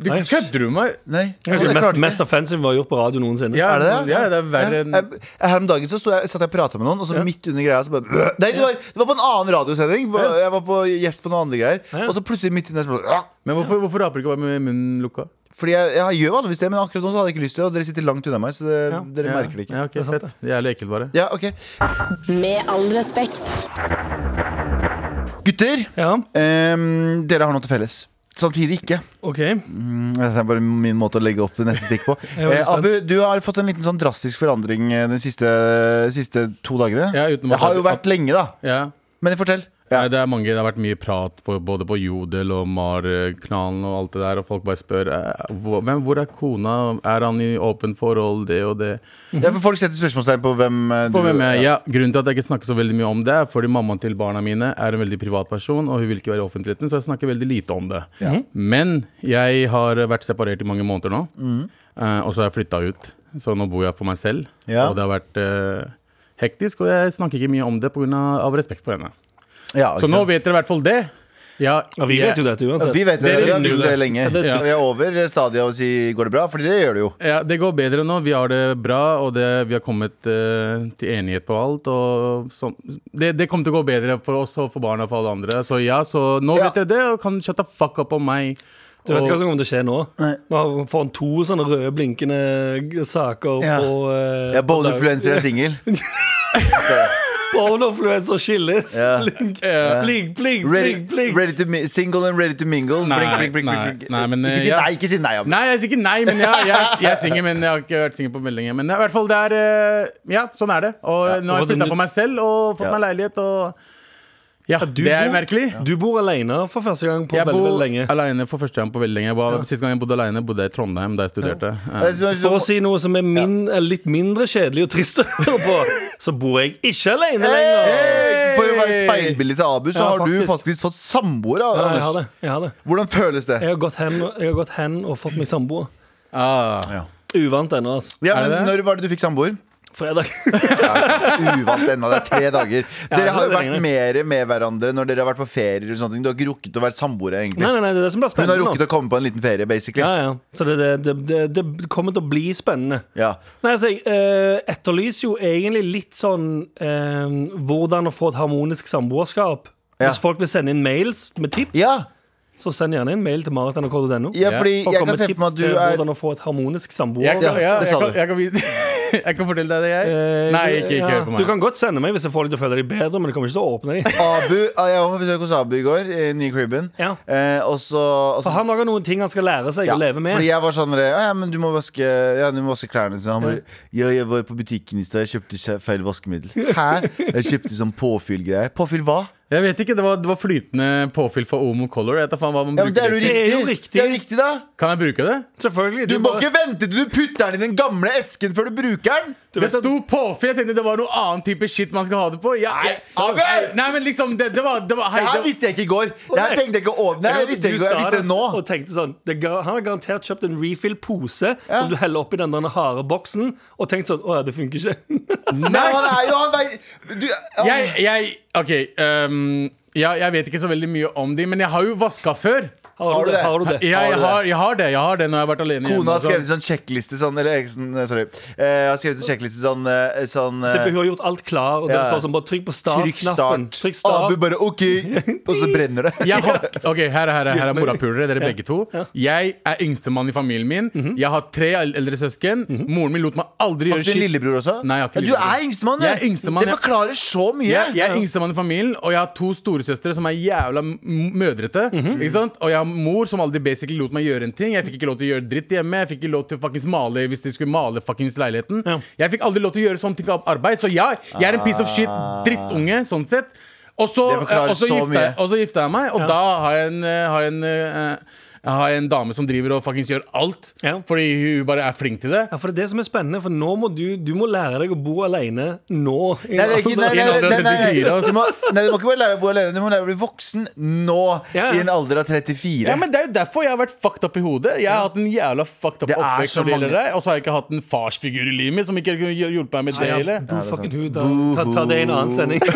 Speaker 4: Du
Speaker 3: Nei.
Speaker 4: kødder du med meg?
Speaker 2: Nei.
Speaker 3: Kanskje
Speaker 2: Jeg
Speaker 3: det
Speaker 2: klarte
Speaker 3: mest,
Speaker 2: ikke.
Speaker 3: mest offensive vi har gjort på radio noensinne.
Speaker 4: Ja,
Speaker 2: Er det det?
Speaker 4: Ja, det er verre enn
Speaker 2: jeg, jeg- her om dagen så sto jeg, satt jeg og prata med noen, og så midt under greia så bare Nei, det var, det var på en annen radiosending. hvor Jeg var på gjest på noen andre greier. Og så plutselig midt under så bare,
Speaker 4: Men hvorfor, hvorfor raper du ikke bare med munnen lukka?
Speaker 2: Fordi jeg, jeg gjør vanligvis det, men akkurat nå så hadde jeg ikke lyst til det. Og dere sitter langt unna meg, så det, dere merker det ikke.
Speaker 4: Ja, ok, fett. Det er jævlig ekkelt, bare.
Speaker 2: Ja, ok
Speaker 1: Med all respekt.
Speaker 2: Gutter,
Speaker 3: Ja,
Speaker 2: em, dere har noe til felles. Samtidig ikke.
Speaker 3: ok
Speaker 2: Det er bare min måte å legge opp neste stikk på.
Speaker 3: er veldig
Speaker 2: Eh, Abu, du har fått en liten sånn drastisk forandring eh, de siste, siste to dagene.
Speaker 4: Ja, uten å-
Speaker 2: det har jo vært lenge, da.
Speaker 4: Ja.
Speaker 2: Men fortell. Ja.
Speaker 4: Nei, det er mange, det har vært mye prat på, både på Jodel og Mar-knalen og alt det der, og folk bare spør eh, hvor, men hvor er kona, er han i åpen forhold, det og det.
Speaker 2: Ja, for folk setter spørsmålstegn på hvem eh,
Speaker 4: Mhm. På hvem jeg,
Speaker 2: ja.
Speaker 4: ja, grunnen til at jeg ikke snakker så veldig mye om det, er fordi mammaen til barna mine er en veldig privat person, og hun vil ikke være i offentligheten, så jeg snakker veldig lite om det.
Speaker 3: Mhm.
Speaker 4: Men jeg har vært separert i mange måneder nå,
Speaker 2: Mhm.
Speaker 4: eh, og så har jeg flytta ut. Så nå bor jeg for meg selv,
Speaker 2: Ja.
Speaker 4: og det har vært eh, hektisk, og jeg snakker ikke mye om det pga. av respekt for henne.
Speaker 2: Ja, ikke
Speaker 4: Så nå
Speaker 2: sant?
Speaker 4: vet dere i hvert fall det. Ja,
Speaker 3: ja, Vi vet jo dette uansett.
Speaker 2: Vi vet det,
Speaker 3: Dere
Speaker 2: vi har
Speaker 3: vet jo
Speaker 2: visst det lenge.
Speaker 4: Ja.
Speaker 2: Vi er over stadiet av å si 'går det bra', Fordi det gjør det jo.
Speaker 4: Ja, det går bedre nå. Vi har det bra, og det, vi har kommet eh, til enighet på alt. Og sånn. det, det kommer til å gå bedre for oss og for barna og for alle andre. Så ja, så nå
Speaker 2: Ja.
Speaker 4: vet dere det, og kan shut the fuck up om meg.
Speaker 3: Du vet
Speaker 4: Og-
Speaker 3: ikke hva som kommer til å skje nå? Nå får han to sånne røde blinkende saker
Speaker 2: Ja.
Speaker 3: på eh,
Speaker 2: Ja, Bonefluencer er singel.
Speaker 3: Bonefluencer skilles.
Speaker 2: Ja.
Speaker 3: Blink,
Speaker 4: Ja.
Speaker 3: blink, blink,
Speaker 2: Ready,
Speaker 3: blink, blink.
Speaker 2: ready to mi- single and ready to mingle.
Speaker 4: Nei,
Speaker 2: Blink, blink, blink,
Speaker 4: nei,
Speaker 2: blink.
Speaker 4: nei, men,
Speaker 2: ikke si
Speaker 4: eh, ja.
Speaker 2: nei, ikke si nei. Abu.
Speaker 4: Nei, jeg sier ikke nei, men ja, jeg, jeg er singel, men jeg har ikke vært singel på veldig lenge. Men i hvert fall, det er eh, Ja, sånn er det.
Speaker 3: og
Speaker 4: Og nå har jeg
Speaker 3: den-
Speaker 4: flytta for meg selv og fått
Speaker 2: Ja.
Speaker 4: meg leilighet og Ja,
Speaker 3: Du
Speaker 4: det er
Speaker 3: bor-
Speaker 4: merkelig.
Speaker 3: Du bor alene for første gang på
Speaker 4: Jeg
Speaker 3: veldig,
Speaker 4: bor
Speaker 3: veldig lenge.
Speaker 4: aleine for første gang på veldig lenge. Jeg var, Sist gang jeg bodde aleine, bodde jeg i Trondheim, da jeg studerte. Eh,
Speaker 2: Jeg synes-
Speaker 3: For å si noe som er min, er litt mindre kjedelig og trist å høre på, så bor jeg ikke alene lenger.
Speaker 2: Hey! For å være speilbildet til Abu, så
Speaker 3: Ja,
Speaker 2: har du
Speaker 3: faktisk.
Speaker 2: faktisk fått samboer.
Speaker 3: Ja,
Speaker 2: Anders.
Speaker 3: jeg har det. Jeg har det
Speaker 2: Hvordan føles det?
Speaker 3: Jeg har gått hen, jeg har gått hen og fått meg samboer.
Speaker 4: ah.
Speaker 3: Uvant ennå, altså.
Speaker 2: Ja,
Speaker 4: Er
Speaker 2: men
Speaker 4: det det?
Speaker 2: Når var det du fikk samboer?
Speaker 3: Fredag.
Speaker 2: Ja, Uvant ennå, det er tre dager. Dere
Speaker 3: det
Speaker 2: har jo
Speaker 3: er
Speaker 2: vært
Speaker 3: lenge.
Speaker 2: mer med hverandre når dere har vært på ferier. og sånne ting Du har ikke rukket å være samboere,
Speaker 3: Nei,
Speaker 2: egentlig.
Speaker 3: nei, nei, det er det som blir
Speaker 2: Hun har
Speaker 3: spennende. nå.
Speaker 2: rukket å komme på en liten ferie, basically.
Speaker 3: Ja, ja. Så det, det, det, det, det kommer til å bli spennende.
Speaker 2: Ja.
Speaker 3: Nei, altså, Jeg eh, etterlyser jo egentlig litt sånn eh, hvordan å få et harmonisk samboerskap.
Speaker 2: Ja.
Speaker 3: Hvis folk vil sende inn mails med tips,
Speaker 2: Ja,
Speaker 3: så send gjerne inn mail til marit.nrk.no.
Speaker 2: ja,
Speaker 4: Ja.
Speaker 2: fordi
Speaker 3: Og
Speaker 2: jeg kan
Speaker 3: kom med
Speaker 2: se for
Speaker 3: tips
Speaker 2: meg at du
Speaker 3: til
Speaker 2: er
Speaker 3: hvordan å få et harmonisk
Speaker 4: Jeg,
Speaker 3: samboerskap.
Speaker 4: kan- ja,
Speaker 2: det sa
Speaker 4: jeg, kan,
Speaker 2: du.
Speaker 4: jeg, kan, vise- jeg kan fortelle deg det, jeg. Nei, ikke, ikke hør på meg.
Speaker 3: Eh, Du kan godt sende meg hvis jeg får deg til å føle deg bedre, men du kommer ikke til å åpne dem.
Speaker 2: Abu ah, Jeg var på besøk hos Abu i går, i nye cribben.
Speaker 3: Ja.
Speaker 2: Eh, og så og så-
Speaker 3: For han har noen ting han skal lære seg
Speaker 2: ja,
Speaker 3: å leve med.
Speaker 2: Fordi jeg var sånn der, ja, ja, men du må vaske, ja, du må vaske klærne sine. Han bare Ja, jeg var på butikken i stad, jeg kjøpte kje- feil vaskemiddel. Hæ? Jeg kjøpte sånn påfyllgreie. Påfyll hva?
Speaker 4: Jeg vet ikke, det var, det var flytende påfyll for Omo Color. Jeg vet da faen hva man
Speaker 2: Ja, men det er
Speaker 4: bruker
Speaker 2: jo riktig.
Speaker 3: Det er jo
Speaker 4: det til.
Speaker 3: riktig.
Speaker 2: Det er jo riktig da
Speaker 4: Kan jeg bruke det?
Speaker 3: Selvfølgelig.
Speaker 2: Du må
Speaker 3: bare-
Speaker 2: ikke vente til du putter den i den gamle esken før du bruker den!
Speaker 3: Du
Speaker 4: Det
Speaker 3: vet at-
Speaker 4: sto påfyll. Jeg tenkte det var noe annen type shit man skal ha det på. Ja, jeg,
Speaker 2: Abu!
Speaker 4: Nei, nei, men liksom, det, det var, det var hei,
Speaker 2: Det her
Speaker 4: det,
Speaker 2: visste jeg ikke i går. Det her tenkte jeg ikke over. Nei, jeg visste
Speaker 3: Du
Speaker 2: ikke, i går, jeg
Speaker 3: sa
Speaker 2: visste det nå.
Speaker 3: Og tenkte sånn det ga, Han har garantert kjøpt en refill-pose
Speaker 2: Ja.
Speaker 3: som du heller oppi den der harde boksen, og tenkt sånn Å ja, det funker ikke.
Speaker 2: Nei, han er jo han vei- du,
Speaker 4: jeg, jeg, OK. ehm, ja, jeg vet ikke så veldig mye om de, men jeg har jo vaska før.
Speaker 3: Har,
Speaker 2: Har du
Speaker 3: du det?
Speaker 2: det?
Speaker 3: Har du det?
Speaker 4: Jeg,
Speaker 2: Har du
Speaker 4: jeg,
Speaker 2: det?
Speaker 4: har, jeg har det jeg har det når jeg har vært alene. hjemme
Speaker 2: Kona har
Speaker 4: og sånn.
Speaker 2: skrevet en sånn sjekkliste sånn Eller ikke sånn, eh, sorry. Eh, har skrevet en sjekkliste sånn, eh, sånn eh,
Speaker 3: Hun har gjort alt klar, og det
Speaker 2: Ja.
Speaker 3: står sånn bare trykk på
Speaker 2: Trykk
Speaker 3: start-knappen.
Speaker 2: start.
Speaker 3: Trykk
Speaker 2: Abu
Speaker 3: start.
Speaker 2: bare OK, og så brenner det.
Speaker 4: Jeg har, ok, her er, her er, her er morapulere, dere begge to. Jeg er yngstemann i familieldelen min. Jeg har tre el- eldre søsken. Moren min lot meg aldri
Speaker 2: Har
Speaker 4: gjøre
Speaker 2: du en
Speaker 4: shit.
Speaker 2: lillebror også?
Speaker 4: Nei, jeg har
Speaker 2: Ja,
Speaker 4: ikke
Speaker 2: du
Speaker 4: lillebror.
Speaker 2: er yngstemann,
Speaker 4: Jeg er yngstemann,
Speaker 2: Det
Speaker 4: ja.
Speaker 2: forklarer så mye. Mhm.
Speaker 4: Jeg, jeg er yngstemann i familien, og jeg har to storesøstre som er jævla m- mødrete. Ikke sant? Og jeg har mor som aldri basically lot meg gjøre en ting. Jeg fikk ikke lov til å gjøre dritt hjemme. Jeg fikk ikke lov til å fuckings male hvis de skulle male fuckings leiligheten.
Speaker 3: Ja.
Speaker 4: Jeg fikk aldri lov til å gjøre sånne ting av arbeid. Så ja, jeg er en piece of shit drittunge, sånn sett. Og så,
Speaker 2: Ah. Det
Speaker 4: eh,
Speaker 2: forklarer
Speaker 4: og så,
Speaker 2: så
Speaker 4: gifta,
Speaker 2: mye.
Speaker 4: jeg- og så gifta jeg meg, og da har jeg en, eh, har jeg en eh, jeg har en dame som driver og fuckings gjør alt.
Speaker 3: Ja.
Speaker 4: Fordi hun bare er flink til det.
Speaker 3: Ja, for det er det som er spennende, for nå må du, du må lære deg å bo alene nå. i en
Speaker 2: Nei, det er ikke, nei,
Speaker 3: alder-
Speaker 2: nei,
Speaker 4: I en alder av
Speaker 2: nei, nei, nei,
Speaker 4: 34, ass.
Speaker 2: Du, må, nei, du må ikke bare lære å bo alene, du må lære å bli voksen nå,
Speaker 3: Ja.
Speaker 2: i en alder av 34.
Speaker 4: Ja, men Det er jo derfor jeg har vært fucked up i hodet. Jeg har hatt en jævla fucked up
Speaker 2: Det er
Speaker 4: oppvekst,
Speaker 2: så
Speaker 4: når det gjelder
Speaker 2: mange-
Speaker 4: det, og så har jeg ikke hatt en farsfigur i livet mitt som ikke kunne hjulpet meg med det.
Speaker 3: Nei,
Speaker 4: hele
Speaker 3: altså, Boo fucking who, da.
Speaker 2: Boo
Speaker 3: Ta, ta det i en annen sending.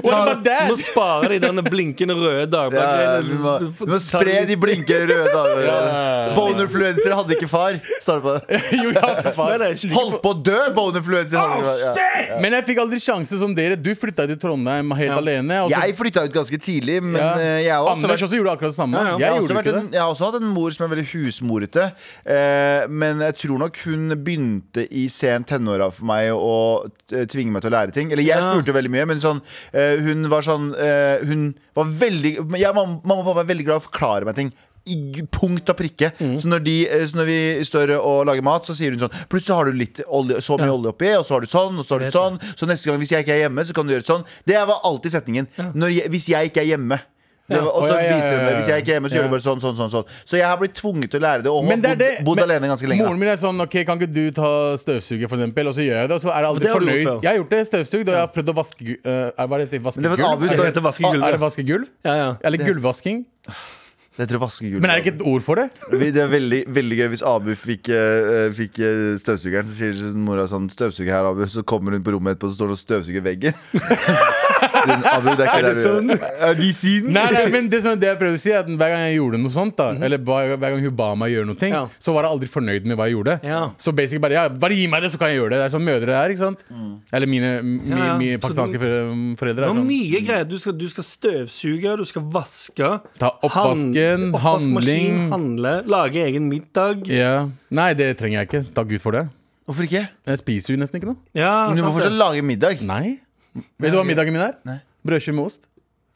Speaker 4: What about that?
Speaker 3: Nå sparer de denne blinkende røde
Speaker 2: Ja, ja, du, må,
Speaker 3: dagbladet.
Speaker 2: du må spre de blinke røde dagene. Bonefluencer hadde ikke far. Står det på det.
Speaker 4: jo, jeg hadde
Speaker 3: Nei,
Speaker 4: far.
Speaker 3: det er ikke like-
Speaker 2: Holdt på å dø! Bonefluencer hadde ikke far. Ja.
Speaker 4: Men jeg fikk aldri sjanse som dere. Du flytta til Trondheim helt
Speaker 3: Ja.
Speaker 4: alene. Og så,
Speaker 2: Jeg flytta ut ganske tidlig, men
Speaker 4: ja.
Speaker 2: eh, jeg har også
Speaker 4: Anders
Speaker 2: vært
Speaker 4: også gjorde akkurat det samme.
Speaker 3: Ja, ja.
Speaker 2: jeg
Speaker 4: Jeg
Speaker 2: har, også
Speaker 4: gjorde
Speaker 2: vært
Speaker 4: ikke
Speaker 2: en,
Speaker 4: det.
Speaker 2: jeg har også hatt en mor som er veldig husmorete. Eh, men jeg tror nok hun begynte i sent tenåra for meg å eh, tvinge meg til å lære ting. Eller jeg
Speaker 3: Ja.
Speaker 2: spurte veldig mye, men sånn, eh, hun var sånn eh, Hun var veldig jeg, og mamma, mamma og pappa er veldig glad i å forklare meg ting. I g- punkt og prikke.
Speaker 4: Mm.
Speaker 2: Så, når de, eh, så når vi står og lager mat, så sier hun sånn Plutselig har du litt olje, så mye olje oppi, og så har du sånn, og så har du sånn. Så neste gang, hvis jeg ikke er hjemme, så kan du gjøre sånn. Det var alltid setningen. Når jeg, hvis jeg ikke er hjemme. Det var, og
Speaker 4: Å,
Speaker 2: så
Speaker 4: ja, ja,
Speaker 2: viste hun
Speaker 4: ja,
Speaker 2: det.
Speaker 4: ja.
Speaker 2: Hvis jeg ikke er hjemme, så gjør
Speaker 4: Ja.
Speaker 2: du bare sånn, sånn, sånn, sånn. Så jeg har blitt tvunget til å lære det, og har
Speaker 4: Men det er
Speaker 2: bodd,
Speaker 4: det.
Speaker 2: bodd
Speaker 4: men
Speaker 2: alene ganske lenge.
Speaker 4: Moren min er sånn OK, kan ikke du ta støvsuger, for eksempel? Og så gjør jeg det, og så er jeg
Speaker 3: det
Speaker 4: aldri
Speaker 3: har du
Speaker 4: fornøyd.
Speaker 3: gjort før.
Speaker 4: Jeg har gjort det, støvsugd, og jeg har prøvd å vaske gu- eh, er- Hva er det?
Speaker 2: det var et
Speaker 4: Vaskegulv?
Speaker 2: avhus,
Speaker 4: Er
Speaker 3: Det
Speaker 4: det-
Speaker 3: heter vaske
Speaker 4: Er det
Speaker 3: gulvet.
Speaker 4: vaskegulv?
Speaker 3: Ja, ja.
Speaker 4: Eller gulvvasking?
Speaker 2: da. Ah, Det heter vaskegulv.
Speaker 4: Men er det ikke et ord for det?
Speaker 2: Vi- Det er veldig, veldig gøy hvis Abu fikk, eh, fikk eh, støvsugeren. Så sier sånn, mora sånn 'Støvsuger her, Abu.' Så kommer hun på rommet etterpå, så står det og støvsuger veggen. Så sier hun, Abu, det er ikke der
Speaker 4: Er det
Speaker 2: du gjør det.» Er de siden?
Speaker 4: Nei, nei, men det, som, det jeg prøvde å si er at Hver gang jeg gjorde noe sånt, da eller hver, hver gang hun ba meg gjøre noe, ting,
Speaker 3: Mhm. Ja.
Speaker 4: så var jeg aldri fornøyd med hva jeg gjorde.
Speaker 3: Ja.
Speaker 4: Så basically bare ja, bare gi meg det, så kan jeg gjøre det. Det er sånn mødre er. ikke sant? Eller mine, mi,
Speaker 3: Mm. Ja, ja.
Speaker 4: mi,
Speaker 3: Så
Speaker 4: pakistanske fore- foreldre.
Speaker 3: Det
Speaker 4: Er
Speaker 3: var
Speaker 4: sånn.
Speaker 3: mye greier. Du skal, du skal støvsuge, du skal vaske.
Speaker 4: Ta oppvasken,
Speaker 3: hand- oppvaskmaskin,
Speaker 4: handling.
Speaker 3: Handle, lage egen middag.
Speaker 4: Ja. Nei, det trenger jeg ikke. Takk Gud for det.
Speaker 2: Hvorfor ikke?
Speaker 4: Jeg spiser jo nesten ikke noe.
Speaker 3: Ja,
Speaker 2: Men du må
Speaker 3: sant det.
Speaker 2: fortsatt lage middag.
Speaker 4: Nei. Vet du hva
Speaker 2: ok.
Speaker 4: middagen min
Speaker 2: Nei.
Speaker 4: er? Brødskive med ost.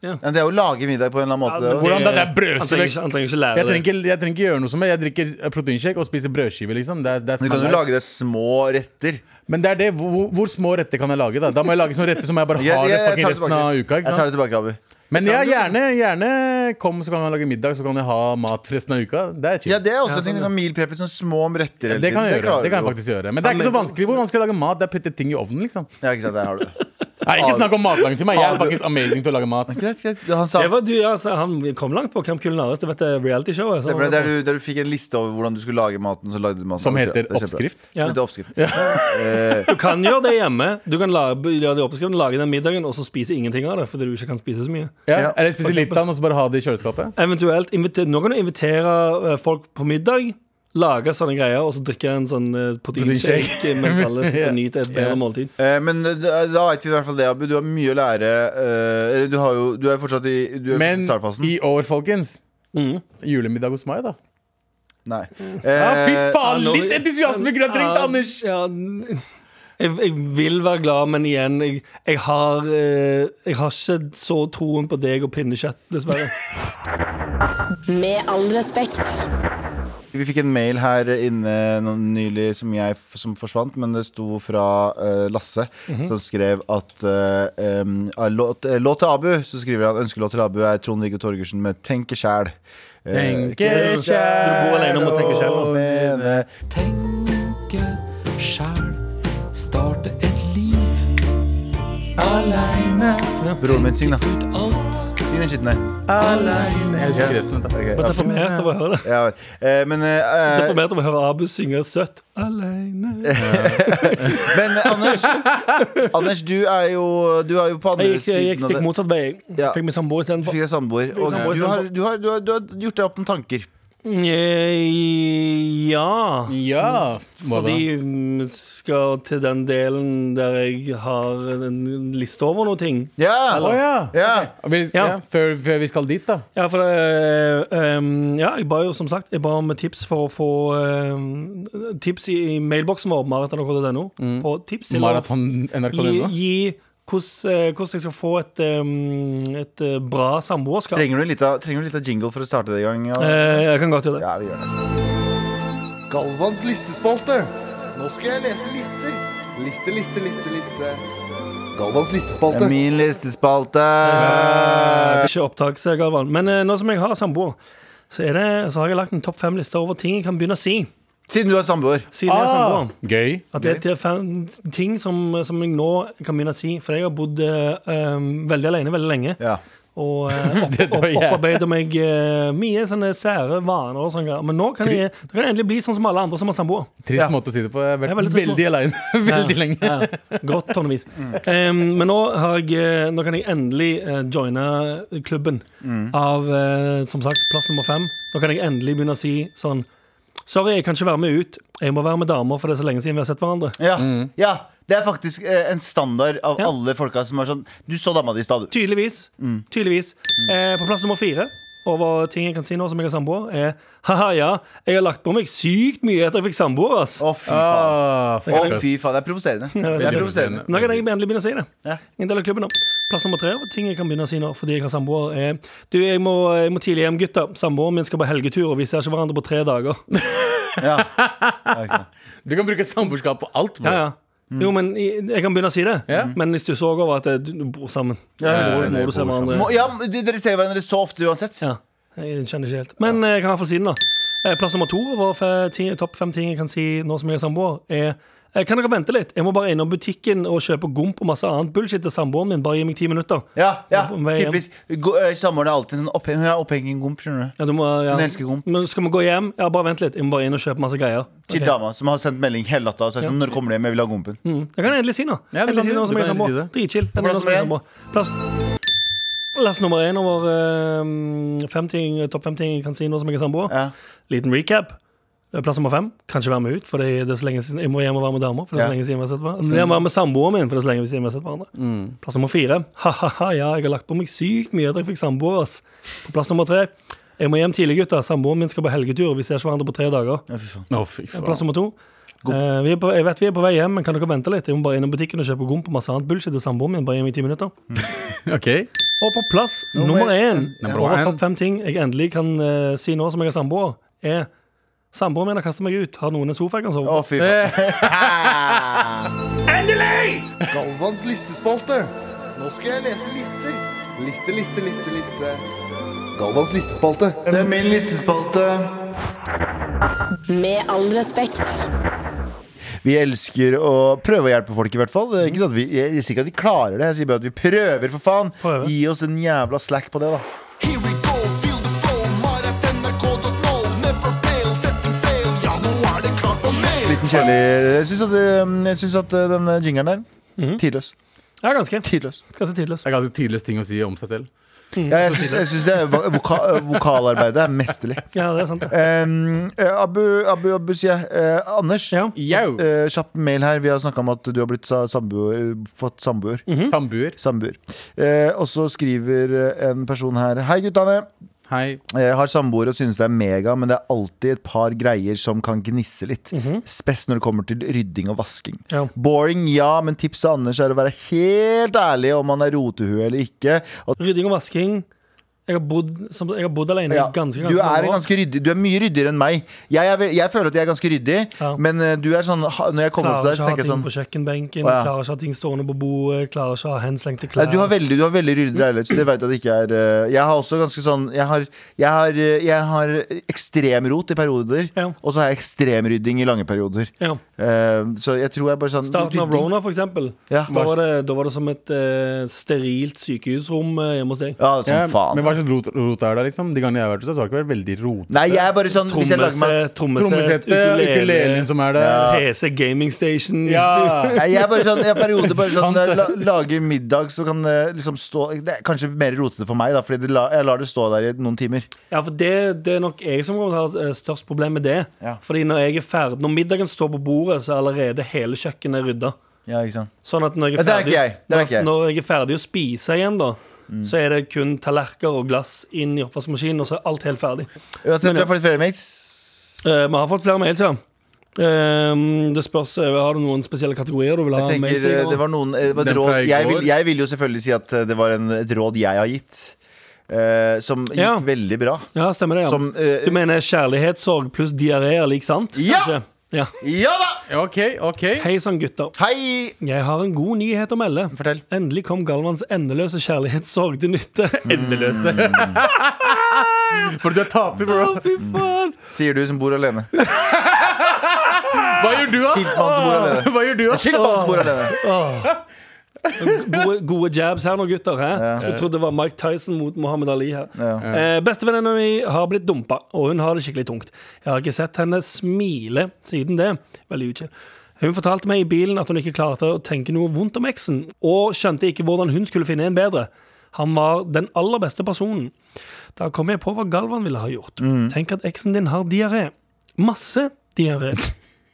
Speaker 2: Ja, det er jo å lage middag på en eller annen måte.
Speaker 3: Ja,
Speaker 2: det
Speaker 3: men-
Speaker 2: også.
Speaker 4: Hvordan da? Det er
Speaker 3: Han trenger
Speaker 4: brødskive.
Speaker 3: ikke, han trenger ikke lære
Speaker 4: Jeg
Speaker 3: det.
Speaker 4: trenger, ikke, jeg trenger ikke gjøre noe som jeg. Jeg drikker proteinshake og spiser brødskive. liksom det er, det er
Speaker 2: Men Du kan jo
Speaker 4: standard.
Speaker 2: lage deg små retter.
Speaker 4: Men det er det, hvor, hvor små retter kan jeg lage? Da Da må jeg lage sånne retter som jeg bare
Speaker 2: Jeg, jeg,
Speaker 4: har
Speaker 2: jeg,
Speaker 4: fucking
Speaker 2: tar det
Speaker 4: resten av uka.
Speaker 2: tilbake. jeg
Speaker 4: ikke
Speaker 2: tar
Speaker 4: sant?
Speaker 2: det tilbake, Abu.
Speaker 4: Men ja, gjerne, gjerne kom, så kan jeg lage middag, så kan jeg ha mat for resten av uka. Det er chill.
Speaker 2: Ja, det er også ting du kan mealpreppe sånn små retter hele
Speaker 4: det kan jeg
Speaker 2: tiden.
Speaker 4: gjøre.
Speaker 2: klarer
Speaker 4: Det kan
Speaker 2: du
Speaker 4: jeg
Speaker 2: jo.
Speaker 4: faktisk gjøre Men det er ikke så vanskelig. Hvor vanskelig er det å lage mat? Det er å putte ting i ovnen, liksom.
Speaker 2: Ja, ikke sant, der har du det.
Speaker 4: Nei, ikke snakk om matlaging til meg. Jeg er faktisk amazing til å lage mat.
Speaker 2: Greit, greit. Han sa
Speaker 3: Det var du, ja, altså, han kom langt på Camp Kulinaris. Det vet jeg, realityshowet.
Speaker 2: Det ble der du, der du fikk en liste over hvordan du skulle lage maten. Så lagde du maten
Speaker 4: Som
Speaker 2: Det er
Speaker 4: heter
Speaker 2: kjempebra.
Speaker 4: oppskrift.
Speaker 3: Ja.
Speaker 2: Som heter oppskrift.
Speaker 3: Du kan gjøre det hjemme. Du kan la- gjøre det i oppskriften, lage den middagen, og så spise ingenting av det. Fordi du ikke kan spise så mye
Speaker 4: Ja. Eller
Speaker 3: For
Speaker 4: spise
Speaker 3: eksempel.
Speaker 4: litt av den, og så bare ha det i kjøleskapet.
Speaker 3: Eventuelt inviter, Nå kan du invitere eh, folk på middag, lage sånne greier, og så drikke en sånn eh, proteinshake mens alle sitter og nyter et bedre
Speaker 4: Ja.
Speaker 3: måltid.
Speaker 2: Eh, men da, da veit vi i hvert fall det, Abu. Du har mye å lære. eh, eller du, har jo, du er fortsatt i du er
Speaker 4: Men
Speaker 2: i startfasen.
Speaker 4: i år, folkens
Speaker 3: Mm.
Speaker 4: Julemiddag hos meg, da.
Speaker 2: Nei.
Speaker 4: Ja, fy
Speaker 2: Eh,
Speaker 4: faen!
Speaker 3: Hallo. Ah.
Speaker 4: Litt entusiasme kunne jeg trengt,
Speaker 3: Ja,
Speaker 4: Anders!
Speaker 3: Ja, n- jeg, jeg vil være glad, men igjen, jeg, jeg, har, eh, jeg har ikke så troen på deg og pinnekjøtt, dessverre.
Speaker 1: Med all respekt.
Speaker 2: vi fikk en mail her inne nå nylig som, jeg, f- som forsvant, men det sto fra eh, Lasse,
Speaker 3: Mhm.
Speaker 2: som skrev at eh, em, ah, låt, eh, låt til Abu Så skriver han ønskelåt til Abu er Trond-Viggo Torgersen med 'Tenke sjæl'. Eh,
Speaker 4: Tenke
Speaker 3: Du bor alene om å tenke sjæl,
Speaker 2: og
Speaker 3: da.
Speaker 2: mene
Speaker 5: Tenke sjæl, starte et liv aleine.
Speaker 2: Broren min, syng, da.
Speaker 5: Ut alt
Speaker 2: Syng den skitten her.
Speaker 4: Aleine Jeg husker resten. Dette.
Speaker 2: Ok,
Speaker 3: Jeg er
Speaker 2: ja.
Speaker 3: deprimert over å høre det.
Speaker 2: Ja, jeg vet. Eh, men,
Speaker 3: Jeg er
Speaker 2: eh,
Speaker 3: Deprimert over å høre Abu synge søtt aleine.
Speaker 2: eh, men Anders, Anders du, er jo, du er jo på andre
Speaker 3: Jeg gikk, jeg gikk
Speaker 2: siden
Speaker 3: stikk
Speaker 2: av det.
Speaker 3: motsatt vei.
Speaker 2: Ja.
Speaker 3: Fikk meg samboer
Speaker 2: Du
Speaker 3: istedenfor.
Speaker 2: fikk deg samboer, og
Speaker 3: samboer
Speaker 2: du har,
Speaker 3: istedenfor.
Speaker 2: du, har, du, har, du har gjort deg opp noen tanker.
Speaker 3: Mm, Eh, Ja.
Speaker 4: Ja. hva da?
Speaker 3: Fordi vi skal til den delen der jeg har en liste over noen ting.
Speaker 2: Ja!
Speaker 4: Å ja.
Speaker 2: ja.
Speaker 4: Vi, ja.
Speaker 3: Ja.
Speaker 4: Før, før vi skal dit, da.
Speaker 3: Ja, for det, ehm, ja, jeg ba jo som sagt Jeg ba om tips for å få ehm,
Speaker 2: Mm.
Speaker 3: tips i, i mailboksen vår, maratonrk.no. På tips til å
Speaker 4: Maraton
Speaker 3: gi,
Speaker 4: NRK.no.
Speaker 3: gi hvordan, eh, hvordan jeg skal få et, eh, et eh, bra samboerskap.
Speaker 2: Trenger du en lita, trenger du en lita jingle for å starte det i gang? Ja?
Speaker 3: Eh, jeg kan godt gjøre det.
Speaker 2: ja, vi gjør det.
Speaker 6: Galvans listespalte. Nå skal jeg lese lister. Liste, liste, liste, liste. Galvans
Speaker 2: Det er
Speaker 6: listespalte.
Speaker 2: Min listespalte.
Speaker 3: Det er Ikke opptak, sier Galvan. Men eh, nå som jeg har samboer, så, er det, så har jeg lagt en topp fem-liste over ting jeg kan begynne å si.
Speaker 2: Siden du er samboer.
Speaker 3: Siden jeg er samboer.
Speaker 4: Ah, Gøy.
Speaker 3: At det er til fem ting som, som jeg nå kan begynne å si. For jeg har bodd eh, um, veldig alene veldig lenge.
Speaker 2: Ja.
Speaker 3: Og eh, opp,
Speaker 4: Det var
Speaker 3: opp,
Speaker 4: jævlig.
Speaker 3: opparbeida meg eh, mye sånne sære vaner. og sånne greier. Men nå kan, jeg, nå kan jeg endelig bli sånn som alle andre som har samboer.
Speaker 4: Trist
Speaker 2: Ja.
Speaker 4: måte å si det på. Jeg har
Speaker 3: Jeg
Speaker 4: vært
Speaker 3: er veldig
Speaker 4: veldig,
Speaker 3: trist nå.
Speaker 4: alene veldig lenge.
Speaker 3: Ja, Grått tonnevis. Em, men nå, har jeg, eh, nå kan jeg endelig eh, joine klubben av eh, som sagt plass nummer fem. Nå kan jeg endelig begynne å si sånn Sorry, jeg kan ikke være med ut. Jeg må være med damer, for det er så lenge siden vi har sett hverandre.
Speaker 2: Ja. ja. Det er faktisk eh, en standard av
Speaker 3: Ja.
Speaker 2: alle folka som er sånn Du så dama di i stad, du.
Speaker 3: Tydeligvis. tydeligvis. Eh, på plass nummer fire over ting jeg kan si nå som jeg har samboer, er Haha, ja, jeg har lagt på meg sykt mye etter jeg fikk samboer, ass.
Speaker 2: Å, fy faen.
Speaker 4: Ah,
Speaker 2: Å,
Speaker 4: fuck, ass.
Speaker 2: fy faen. Det er provoserende. Det er provoserende.
Speaker 3: Nå kan jeg endelig begynne å si det.
Speaker 2: Ja.
Speaker 3: En del av klubben nå. Plass nummer tre over ting jeg kan begynne å si nå fordi jeg har samboer, er Du, jeg må, jeg må tidlig hjem, gutta. Samboeren min skal på helgetur, og vi ser ikke hverandre på tre dager.
Speaker 2: Ja. Ja, ikke sant.
Speaker 4: Du kan bruke samboerskap på alt.
Speaker 3: Ja,
Speaker 4: bro.
Speaker 3: ja.
Speaker 2: Mm.
Speaker 3: Jo, men jeg, jeg kan begynne å si det.
Speaker 4: Ja.
Speaker 3: Men hvis du så over at eh, du du bor sammen,
Speaker 2: Ja,
Speaker 3: så må,
Speaker 2: det-
Speaker 3: må du
Speaker 4: det
Speaker 3: se
Speaker 4: bor sammen.
Speaker 3: hverandre.
Speaker 2: Må, ja, men de- dere ser hverandre så ofte uansett.
Speaker 3: Ja, jeg kjenner ikke helt Men eh, jeg kan i hvert fall si den da Eh, Plass nummer to over fe- ti- topp fem ting jeg kan si nå som jeg er samboer er eh, Kan dere vente litt? Jeg må bare innom butikken og kjøpe gomp og masse annet bullshit til samboeren min. Bare gi meg ti minutter.
Speaker 2: Ja, ja,
Speaker 3: På vei hjem.
Speaker 2: typisk. Gå- eh, Samboeren er alltid sånn oppheng, Hun er opphengt i en gomp, skjønner du.
Speaker 3: Ja, du må, ja.
Speaker 2: Hun elsker gomp.
Speaker 3: Men skal vi gå hjem? Ja, bare vent litt. Jeg må bare inn og kjøpe masse greier.
Speaker 2: Til
Speaker 3: Ok.
Speaker 2: dama som har sendt melding hele natta og sagt sånn Når kommer du hjem? Jeg vil ha gompen.
Speaker 3: Mm. Jeg kan endelig si noe.
Speaker 4: Ja, du
Speaker 3: endelig
Speaker 4: kan-
Speaker 3: si noe som
Speaker 4: du
Speaker 3: jeg er
Speaker 4: kan
Speaker 3: samboer.
Speaker 4: endelig si
Speaker 3: Dritkjill. Endelig
Speaker 2: Plass
Speaker 3: noe som jeg er
Speaker 2: nummer
Speaker 3: samboer. Plass Plass nummer én over eh, fem ting, topp fem ting jeg kan si nå som jeg er samboer.
Speaker 2: Ja.
Speaker 3: Liten recap. Eh, Plass nummer fem. Kan ikke være med ut, for det er så lenge siden jeg må hjem og være med damer. For det er så
Speaker 2: Ja.
Speaker 3: lenge Mm. siden vi har sett hverandre Jeg må være med samboeren min, for det er så lenge siden vi har sett hverandre. Plass nummer fire. Ha-ha-ha, ja, jeg har lagt på meg sykt mye etter jeg fikk samboer. ass. På plass nummer tre. Jeg må hjem tidlig, gutta. Samboeren min skal på helgetur. Vi ser ikke hverandre på tre dager.
Speaker 2: Ja, fy faen.
Speaker 4: Å, fy
Speaker 3: Plass
Speaker 4: faen.
Speaker 3: nummer to. Eh, vi er på, jeg vet vi er på vei hjem, men kan dere vente litt? Jeg må bare innom butikken og kjøpe gomp og masse annet bullshit til samboeren min. Bare gi meg ti minutter.
Speaker 4: Ok.
Speaker 3: Og på plass nummer én
Speaker 4: Nummer
Speaker 3: over
Speaker 4: én.
Speaker 3: topp fem ting jeg endelig kan eh, si nå som jeg er samboer, er Samboeren min har kastet meg ut. Har noen en sofa jeg kan sove på?
Speaker 2: Å, fy faen.
Speaker 3: Eh.
Speaker 6: Galvans listespalte. Nå skal jeg lese lister. Liste, liste, liste, liste. Galvans listespalte.
Speaker 2: Det er min listespalte.
Speaker 1: Med all respekt.
Speaker 2: Vi elsker å prøve å hjelpe folk, i hvert fall. Det er Ikke at vi, jeg jeg sier ikke at vi klarer det, jeg sier bare at vi prøver, for faen.
Speaker 3: Prøver.
Speaker 2: Gi oss en jævla slack på det, da.
Speaker 6: Here we go, feel the flow. Maratnrk.no, never fail, setting sail. Ja, nå er det klart for mer.
Speaker 2: Liten kjedelig Jeg syns at, eh, jeg syns at eh, den jingeren der Tidløs.
Speaker 3: Ja, ganske.
Speaker 2: Tidløs.
Speaker 3: Ganske tidløs.
Speaker 4: Det er ganske tidløs ting å si om seg selv.
Speaker 2: Ja, jeg syns, jeg syns det er vo- voka, uh, vokalarbeidet er mesterlig.
Speaker 3: Ja, det er sant, det.
Speaker 2: Um, eh, Abu, Abu, Abu, sier jeg. Eh, Anders,
Speaker 3: Ja.
Speaker 4: Yo!
Speaker 2: eh, kjapp mail her. Vi har snakka om at du har blitt sa- samboer, uh, fått samboer.
Speaker 4: Mhm. Samboer.
Speaker 2: Samboer. Eh, og så skriver eh, en person her Hei, guttene.
Speaker 4: Hei.
Speaker 2: Jeg har samboer og synes det er mega, men det er alltid et par greier som kan gnisse litt. Spes når det kommer til rydding og vasking.
Speaker 3: Ja.
Speaker 2: Boring, ja, men tips til Anders er å være helt ærlig om han er rotehue eller ikke. Og,
Speaker 3: Rydding og vasking. Jeg har bodd, som, jeg har bodd alene i
Speaker 2: ja,
Speaker 3: ganske, ganske
Speaker 2: du, er
Speaker 3: mange år.
Speaker 2: ganske ryddig, du er mye ryddigere enn meg. Jeg, er, vel- jeg føler at jeg er ganske ryddig,
Speaker 3: Ja.
Speaker 2: men eh, du er sånn ha- Når jeg kommer opp der,
Speaker 3: Klarer
Speaker 2: så
Speaker 3: ikke å ha
Speaker 2: tenker jeg
Speaker 3: ting
Speaker 2: sånn
Speaker 3: på kjøkkenbenken,
Speaker 2: Å, ja.
Speaker 3: klarer ikke å ha ting stående på bordet, klarer ikke å ha henslengte
Speaker 2: Nei,
Speaker 3: klær.
Speaker 2: du har veldig, du har veldig ryddig leilighet, så det vet jeg at det ikke er eh, Jeg har også ganske sånn Jeg har, jeg har, eh, jeg har ekstrem rot i perioder,
Speaker 3: Ja.
Speaker 2: og så har jeg ekstrem rydding i lange perioder.
Speaker 3: ja.
Speaker 2: Eh, så jeg tror jeg bare sånn
Speaker 3: Starten av
Speaker 2: rydding-
Speaker 3: Rona, for eksempel.
Speaker 2: Ja,
Speaker 3: Da var det, da var det som et eh, sterilt sykehusrom eh, hjemme hos deg.
Speaker 2: ja som
Speaker 4: Ja,
Speaker 2: faen.
Speaker 4: men hva slags rot, rot er det, liksom? De gangene jeg har vært hos deg, så har det ikke vært veldig rot.
Speaker 2: Nei, jeg er bare sånn Hvis jeg lager meg
Speaker 3: Trommesett, trommesett,
Speaker 4: Trommesette, ukulelen som er der.
Speaker 3: PC, gaming station.
Speaker 4: Ja.
Speaker 2: Nei, jeg er bare sånn Jeg har perioder bare sånn
Speaker 4: Sant
Speaker 2: Når
Speaker 4: det.
Speaker 2: jeg la, lager middag, så kan det liksom stå Det er kanskje mer rotete for meg, da, fordi det la, jeg lar det stå der i noen timer.
Speaker 3: Ja, for det, det er nok jeg som kommer til å ha eh, størst problem med det.
Speaker 2: Ja.
Speaker 3: Fordi når jeg er ferdig Når middagen står på bordet, så er allerede hele kjøkkenet rydda.
Speaker 2: Ja, ikke sant
Speaker 3: Sånn at når jeg
Speaker 2: Ja,
Speaker 3: er
Speaker 2: det er
Speaker 3: ferdig,
Speaker 2: ikke jeg. Det er Mm. ikke jeg.
Speaker 3: Når, når jeg er ferdig å spise igjen, da, så er det kun tallerkener og glass inn i oppvaskmaskinen, og så er alt helt ferdig.
Speaker 2: Uansett,
Speaker 3: Men
Speaker 2: vi
Speaker 3: ja.
Speaker 2: har fått flere mails.
Speaker 3: Eh, vi har fått flere mails, ja. Ehm, det spørs eh, Har du noen spesielle kategorier du vil ha?
Speaker 2: Jeg tenker,
Speaker 3: mainstream,
Speaker 2: eh,
Speaker 3: eller?
Speaker 2: det var noen eh, det var et
Speaker 4: Den
Speaker 2: råd,
Speaker 4: fra i
Speaker 2: jeg, vil,
Speaker 4: går.
Speaker 2: jeg vil jo selvfølgelig si at eh, det var en, et råd jeg har gitt, eh, som gikk
Speaker 3: Ja.
Speaker 2: veldig bra.
Speaker 3: Ja, stemmer det. Ja.
Speaker 2: Som eh,
Speaker 3: du mener kjærlighetssorg pluss diaré er lik sant?
Speaker 2: Ja!
Speaker 3: Kanskje? ja!
Speaker 2: Ja da!
Speaker 4: OK, OK.
Speaker 3: Hei sann, gutter.
Speaker 2: Hei!
Speaker 3: Jeg har en god nyhet å melde.
Speaker 2: Fortell.
Speaker 3: Endelig kom Galvans endeløse kjærlighetssorg til nytte. Endeløse.
Speaker 4: For du er taper, bro.
Speaker 3: Å, fy faen!
Speaker 2: Sier du som bor alene.
Speaker 4: Hva gjør du, da?
Speaker 2: Skiltmann som bor alene.
Speaker 4: Hva gjør du, da?
Speaker 2: Skiltmann som bor alene.
Speaker 3: Gode, gode jabs her nå, gutter. Hæ? Skulle trodd det var Mike Tyson mot Muhammad Ali her. Eh, Bestevenninna mi har blitt dumpa, og hun har det skikkelig tungt. Jeg har ikke sett henne smile siden det. Veldig utkjent. Hun fortalte meg i bilen at hun ikke klarte å tenke noe vondt om eksen, og skjønte ikke hvordan hun skulle finne en bedre. Han var den aller beste personen. Da kom jeg på hva Galvan ville ha gjort. Tenk at eksen din har diaré. Masse diaré.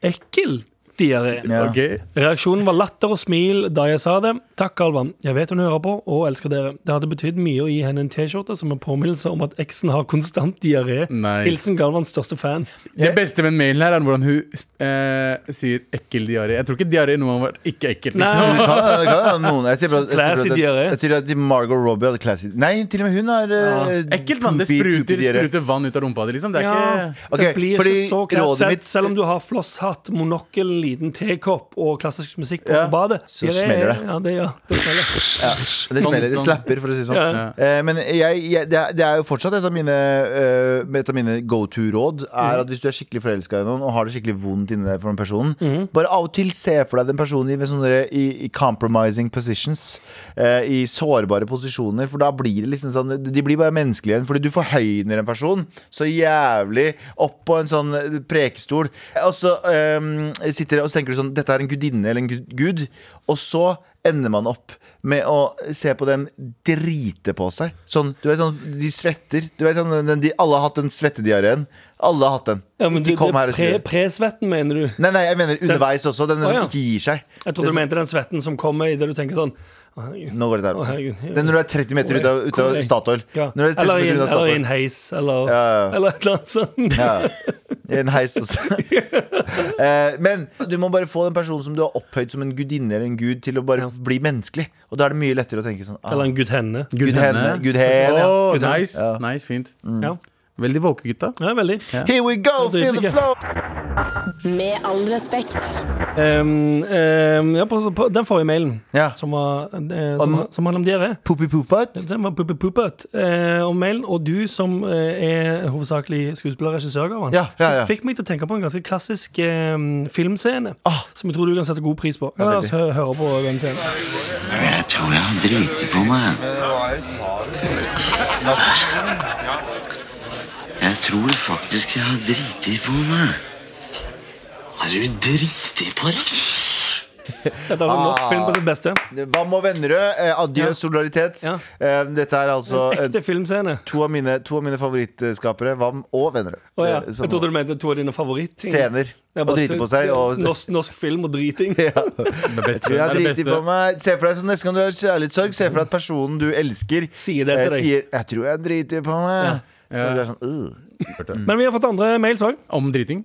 Speaker 3: Ekkel diaré.
Speaker 2: Ja.
Speaker 4: Ok.
Speaker 3: Reaksjonen var latter og smil da jeg sa det. Takk, Alvan. Jeg vet hun hører på og elsker dere. Det hadde betydd mye å gi henne en T-skjorte som en påminnelse om at eksen har konstant diaré.
Speaker 4: Nice.
Speaker 3: Hilsen Galvans største fan.
Speaker 4: Det beste med mailen her er hvordan hun eh, sier ekkel diaré. Jeg tror ikke diaré noen har vært ikke ekkelt. Liksom.
Speaker 2: Kan, kan, være noen, jeg tipper at- jeg
Speaker 3: Classy
Speaker 2: tipper at-
Speaker 3: diaré.
Speaker 2: jeg tipper at Margot Robbie hadde classy Nei, til og med hun har eh,
Speaker 4: Ekkelt, mann. Det
Speaker 2: poopy-
Speaker 4: spruter,
Speaker 2: poopy-diaré.
Speaker 4: spruter vann ut av rumpa di, liksom. Det er ikke
Speaker 2: Ok,
Speaker 3: det blir
Speaker 2: fordi
Speaker 3: ikke så
Speaker 2: rådet
Speaker 3: klassett,
Speaker 2: mitt-
Speaker 3: selv om du har flosshatt, monokkel, liten tekopp og klassisk musikk på
Speaker 4: Ja.
Speaker 3: badet.
Speaker 2: Så smeller det.
Speaker 3: Ja, det gjør det. Smeller.
Speaker 2: Det smeller, det
Speaker 4: Sånn-
Speaker 2: slapper, for å si det sånn. Eh, men jeg, jeg, det, er, det er jo fortsatt et av mine, eh, et av mine go to-råd. Er at Hvis du er skikkelig forelska i noen og har det skikkelig vondt inni deg for den personen, bare av og til se for deg den personen i, med sånne, i, i compromising positions. eh, I sårbare posisjoner. For da blir det liksom sånn De blir bare menneskelige igjen. Fordi du forhøyner en person så jævlig opp på en sånn prekestol. Og så eh, sitter og så tenker du sånn Dette er en gudinne eller en gud. gud og så ender man opp med å se på dem drite på seg. Sånn, du vet sånn, De svetter. Du vet, sånn, den, de, alle har hatt den svettediareen. Alle har hatt den.
Speaker 3: Ja, men du,
Speaker 2: Ikke
Speaker 3: det
Speaker 2: kom her
Speaker 3: er
Speaker 2: og si
Speaker 3: pre,
Speaker 2: det.
Speaker 3: presvetten, mener du?
Speaker 2: Nei, nei, jeg mener underveis også. Den
Speaker 3: Å, ja.
Speaker 2: som ikke gir seg.
Speaker 3: Jeg trodde du mente den svetten som kommer idet du tenker sånn «Å, herregud».
Speaker 2: Nå går det
Speaker 3: Å,
Speaker 2: der.
Speaker 3: herregud.
Speaker 2: Den når du er 30 meter ut av, ut av Statoil.
Speaker 3: Ja.
Speaker 2: Når du er 30
Speaker 3: Eller i
Speaker 2: meter
Speaker 3: en,
Speaker 2: ut av
Speaker 3: eller i en
Speaker 2: Statoil.
Speaker 3: heis, eller,
Speaker 2: Ja, ja.
Speaker 3: eller et eller annet sånt.
Speaker 2: Ja. I en heis også. Eh, Men du må bare få den personen som du har opphøyd som en gudinne eller en gud, til å bare bli menneskelig. Og da er det mye lettere å tenke sånn. Ah,
Speaker 3: Eller en gudhenne.
Speaker 2: Gud henne. Gud henne. ja.
Speaker 4: Åh,
Speaker 3: Gud henne.
Speaker 4: nice, nice, fint.
Speaker 2: Mm.
Speaker 3: Ja.
Speaker 4: Veldig våke, gutta.
Speaker 3: Ja, veldig.
Speaker 2: "Ah, Here we go,
Speaker 3: Det er
Speaker 2: feel the
Speaker 3: dritlig.
Speaker 2: flow.
Speaker 1: Med all respekt.
Speaker 3: Ehm, ehm, ja, på, på den forrige mailen,
Speaker 2: Ja.
Speaker 3: som, var, eh,
Speaker 2: Om-
Speaker 3: som, som handler om diaré
Speaker 2: Poopy-poopet.
Speaker 3: Den var puppet, puppet, eh, om mailen, og du som eh, er hovedsakelig skuespiller og regissør, Gavan,
Speaker 2: Ja, ja, ja.
Speaker 3: fikk meg til å tenke på en ganske klassisk eh, filmscene.
Speaker 2: Ah.
Speaker 3: Som jeg tror du kan sette god pris på. Ja, La oss hø høre på den scenen.
Speaker 7: Jeg tror jeg har driti på meg. Jeg tror faktisk jeg har driti på meg. Har du driti på deg?
Speaker 3: Dette er altså
Speaker 2: Ah.
Speaker 3: norsk film på sitt beste.
Speaker 2: Hva må Vennerød? Eh, Adjø,
Speaker 3: Ja.
Speaker 2: solidaritet.
Speaker 3: Ja.
Speaker 2: Eh, dette er altså eh,
Speaker 3: Ekte filmscene.
Speaker 2: to av mine, to av mine favorittskapere, Vam og Vennerød.
Speaker 3: Å ja.
Speaker 2: Eh, som-
Speaker 3: Jeg trodde du mente to av dine favorittting.
Speaker 2: Scener.
Speaker 3: Ja,
Speaker 2: Å
Speaker 3: bare-
Speaker 2: drite på seg. Og,
Speaker 3: norsk, norsk film og driting.
Speaker 4: Det beste.
Speaker 2: tror jeg
Speaker 4: det er det
Speaker 2: driter
Speaker 4: beste.
Speaker 2: på meg Se for deg som neste gang du har kjærlighetssorg, se for deg at personen du elsker,
Speaker 3: Sier det til
Speaker 2: eh,
Speaker 3: deg.
Speaker 2: sier 'jeg tror jeg driter på meg'. Så
Speaker 4: Ja.
Speaker 2: du er sånn, «Ugh».
Speaker 3: Men vi har fått andre mails òg.
Speaker 4: Om driting.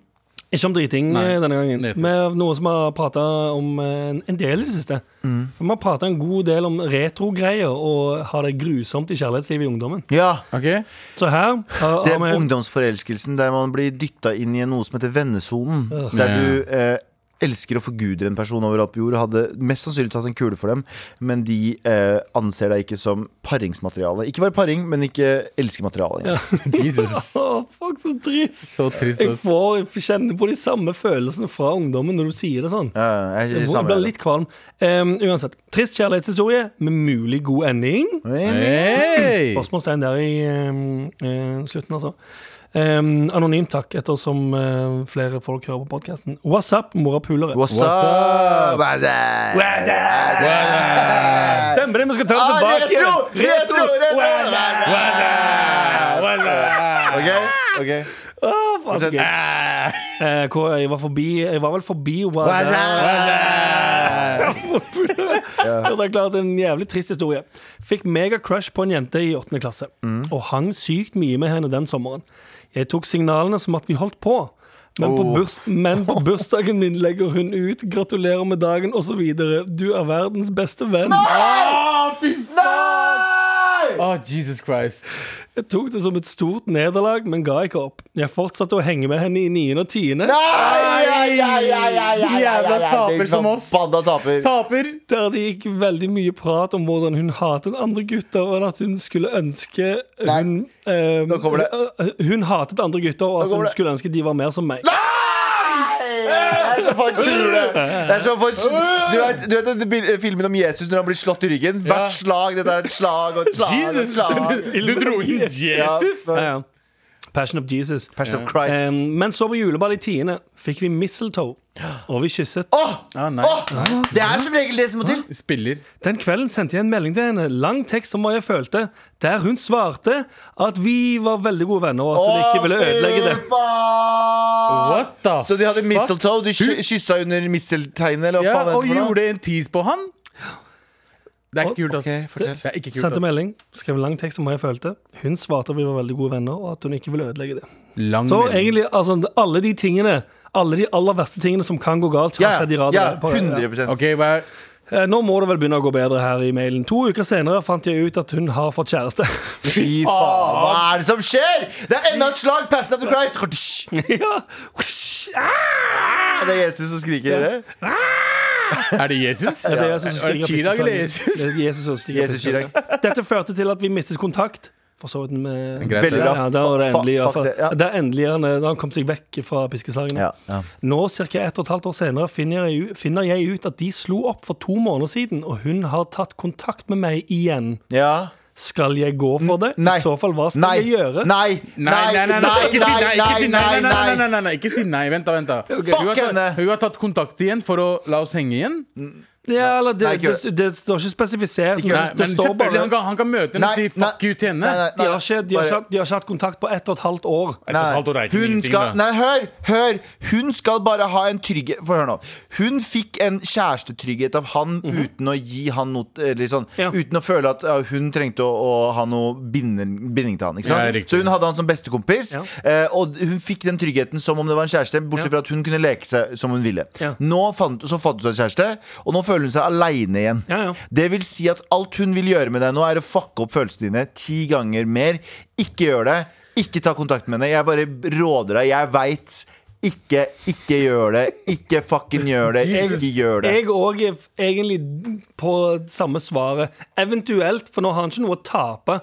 Speaker 3: Ikke om driting
Speaker 4: Nei,
Speaker 3: eh, denne gangen.
Speaker 4: nettopp.
Speaker 3: Med noe som har prata om eh, en en del i det siste. For Vi har prata en god del om retrogreier og har det grusomt i kjærlighetslivet i ungdommen.
Speaker 2: Ja,
Speaker 4: Ok?
Speaker 3: Så her har,
Speaker 2: det er
Speaker 3: har vi
Speaker 2: ungdomsforelskelsen der man blir dytta inn i noe som heter vennesonen. Der
Speaker 4: Ja.
Speaker 2: du eh, elsker å forgude en person overalt på jord. Hadde mest sannsynlig tatt en kule for dem, men de eh, anser deg ikke som paringsmateriale. Ikke bare paring, men ikke elskemateriale. engang.
Speaker 4: Jesus.
Speaker 3: Å, fuck, så trist!
Speaker 4: Så trist.
Speaker 3: Jeg
Speaker 4: ass.
Speaker 3: får kjenne på de samme følelsene fra ungdommen når du sier det sånn.
Speaker 2: Ja, jeg, jeg,
Speaker 3: Jeg
Speaker 2: jeg,
Speaker 3: blir litt kvalm. Um, uansett. Trist kjærlighetshistorie med mulig god ending.
Speaker 4: Hey!
Speaker 3: Spørsmålstegn der i ehm, eh, slutten, altså. Ehm, anonymt, takk, ettersom eh, flere folk hører på podkasten. What's up, morapulere?
Speaker 2: What's up? What's up?
Speaker 3: What's up? Stemmer det, vi skal ta det
Speaker 2: Ah,
Speaker 3: tilbake!
Speaker 2: retro!
Speaker 3: igjen.
Speaker 2: Retro! retro!
Speaker 3: What's up?
Speaker 2: Ok, ok
Speaker 3: Å, faen, så gøy. Eh, hvor jeg var forbi Jeg var vel forbi What's up? Det er klart en jævlig trist historie. Fikk megacrush på en jente i åttende klasse. Og hang sykt mye med henne den sommeren. Jeg tok signalene som at vi holdt på. Men på,
Speaker 2: Åh.
Speaker 3: burs, men på bursdagen min legger hun ut 'gratulerer med dagen' osv. Du er verdens beste venn.
Speaker 4: Å, fy faen! Å, Jesus Christ.
Speaker 3: Jeg tok det som et stort nederlag, men ga ikke opp. Jeg fortsatte å henge med henne i niende og tiende.
Speaker 2: Ai, ai, ai, ai, ai, ai, ai,
Speaker 4: Jævla
Speaker 2: ai, ai.
Speaker 4: taper som oss.
Speaker 2: Forbanna taper.
Speaker 4: Taper.
Speaker 3: Der det gikk veldig mye prat om hvordan hun hatet andre gutter, og at hun skulle ønske
Speaker 2: Nei,
Speaker 3: hun, eh,
Speaker 2: nå kommer det.
Speaker 3: eh, hun hatet andre gutter, og at
Speaker 2: kommer
Speaker 3: hun
Speaker 2: det.
Speaker 3: skulle ønske de var mer som meg.
Speaker 2: Det er så for kule. Det er så for Du vet, du vet den bil- filmen om Jesus når han blir slått i ryggen?
Speaker 4: Ja.
Speaker 2: Hvert slag. Dette er et slag og et slag. Og et
Speaker 4: Jesus!
Speaker 2: slag.
Speaker 4: Du, du dro inn Jesus?
Speaker 2: Ja,
Speaker 3: Ja, ja. Passion of Jesus.
Speaker 2: Passion of Christ.
Speaker 3: Eh, men så på juleball i tiende fikk vi mistletoe, og vi kysset.
Speaker 4: Ah, nice.
Speaker 2: Åh, det er som regel det som må til.
Speaker 4: Spiller.
Speaker 3: Den kvelden sendte jeg en melding til henne, lang tekst om hva jeg følte, der hun svarte at vi var veldig gode venner, og at hun ikke ville ødelegge det.
Speaker 2: Fy faen.
Speaker 4: What the
Speaker 2: Så de hadde
Speaker 4: fuck?
Speaker 2: mistletoe? De ky- kyssa under misteltegnet, eller hva
Speaker 4: Ja,
Speaker 2: faen
Speaker 4: og
Speaker 2: heter det for noe?
Speaker 4: gjorde en tease på han? Det er ikke kult, ass.
Speaker 2: Ok, fortell.
Speaker 4: Det er ikke kult,
Speaker 3: Sendte
Speaker 4: ass.
Speaker 3: melding, skrev en lang tekst om hva jeg følte. Hun svarte at vi var veldig gode venner, og at hun ikke ville ødelegge det.
Speaker 4: Lang
Speaker 3: Så
Speaker 4: melding.
Speaker 3: egentlig, altså, alle de tingene Alle de aller verste tingene som kan gå galt, har
Speaker 2: Ja,
Speaker 3: skjedd i rad.
Speaker 2: ja,
Speaker 3: på-
Speaker 2: 100
Speaker 4: Ok, hva er
Speaker 3: Eh, Nå må det vel begynne å gå bedre her i mailen. To uker senere fant jeg ut at hun har fått kjæreste.
Speaker 2: Fy faen, hva er det som skjer?! Det er enda et slag! Passion of Christ!
Speaker 3: ja.
Speaker 2: Er det Jesus som skriker det?
Speaker 4: Er det Jesus?
Speaker 3: Det er Jesus som
Speaker 4: Er det
Speaker 3: skriker pissesangen.
Speaker 4: Chirag eller Jesus?
Speaker 3: Det er Jesus som skriker
Speaker 2: Jesus Chirag.
Speaker 3: pissesangen. Dette førte til at vi mistet kontakt. For så vidt med
Speaker 4: Greit,
Speaker 2: Veldig
Speaker 4: det.
Speaker 2: bra.
Speaker 3: Ja, da var det
Speaker 2: Fuck,
Speaker 3: endelig, i hvert
Speaker 2: fuck
Speaker 3: fall.
Speaker 2: det, ja.
Speaker 3: Da er endelig han, eh, da han kom seg vekk fra piskeslagene.
Speaker 2: Ja, ja.
Speaker 3: Nå, ca. ett og et halvt år senere, finner jeg, u- finner jeg ut at de slo opp for to måneder siden, og hun har tatt kontakt med meg igjen.
Speaker 2: ja.
Speaker 3: Skal jeg gå for det?
Speaker 2: Nei.
Speaker 3: I så fall, hva skal
Speaker 2: Nei.
Speaker 3: jeg gjøre?
Speaker 2: Nei.
Speaker 4: Nei, nei, nei, nei, ikke si nei, ikke si nei, nei, nei, nei, nei, nei, nei, ikke si nei, vent da, vent da hun, har
Speaker 2: henne.
Speaker 4: tatt, hun har tatt kontakt igjen for å la oss henge igjen
Speaker 3: Ja, eller det,
Speaker 2: Nei, ikke gjør
Speaker 3: det, det, står ikke spesifisert.
Speaker 4: Nei,
Speaker 3: men det,
Speaker 4: men
Speaker 3: står
Speaker 4: selvfølgelig,
Speaker 3: bare
Speaker 4: han kan, han kan møte henne og
Speaker 2: Nei,
Speaker 4: si fuck
Speaker 2: nei,
Speaker 4: you til henne
Speaker 2: nei, nei,
Speaker 3: de har, ikke, de,
Speaker 2: Bare-
Speaker 3: har ikke, hatt- de har ikke hatt kontakt på ett og et halvt år.
Speaker 2: Nei,
Speaker 4: halvt år er ikke
Speaker 2: hun
Speaker 4: ingenting,
Speaker 2: skal,
Speaker 4: da.
Speaker 2: nei, hør, hør! Hun skal bare ha en trygghet For hør nå. Hun fikk en kjærestetrygghet av han uten å gi han noe eller sånn,
Speaker 3: Ja.
Speaker 2: Uten å føle at ja, hun trengte å, å ha noe binding, binding til han. Ikke sant?
Speaker 4: Ja, riktig.
Speaker 2: så hun hadde han som bestekompis,
Speaker 3: Ja.
Speaker 2: eh, og hun fikk den tryggheten som om det var en kjæreste, bortsett
Speaker 3: Ja.
Speaker 2: fra at hun kunne leke seg som hun ville.
Speaker 3: Ja.
Speaker 2: Nå fant, så fant hun seg en kjæreste, og nå føler hun seg aleine igjen.
Speaker 3: Ja, ja.
Speaker 2: Det vil si at alt hun vil gjøre med deg nå, er å fucke opp følelsene dine ti ganger mer. Ikke gjør det. Ikke ta kontakt med henne. Jeg bare råder deg. Jeg veit. Ikke, ikke gjør det. Ikke fucking gjør det. Ikke gjør det.
Speaker 3: Jeg òg er f- egentlig på samme svaret. Eventuelt, for nå har han ikke noe å tape.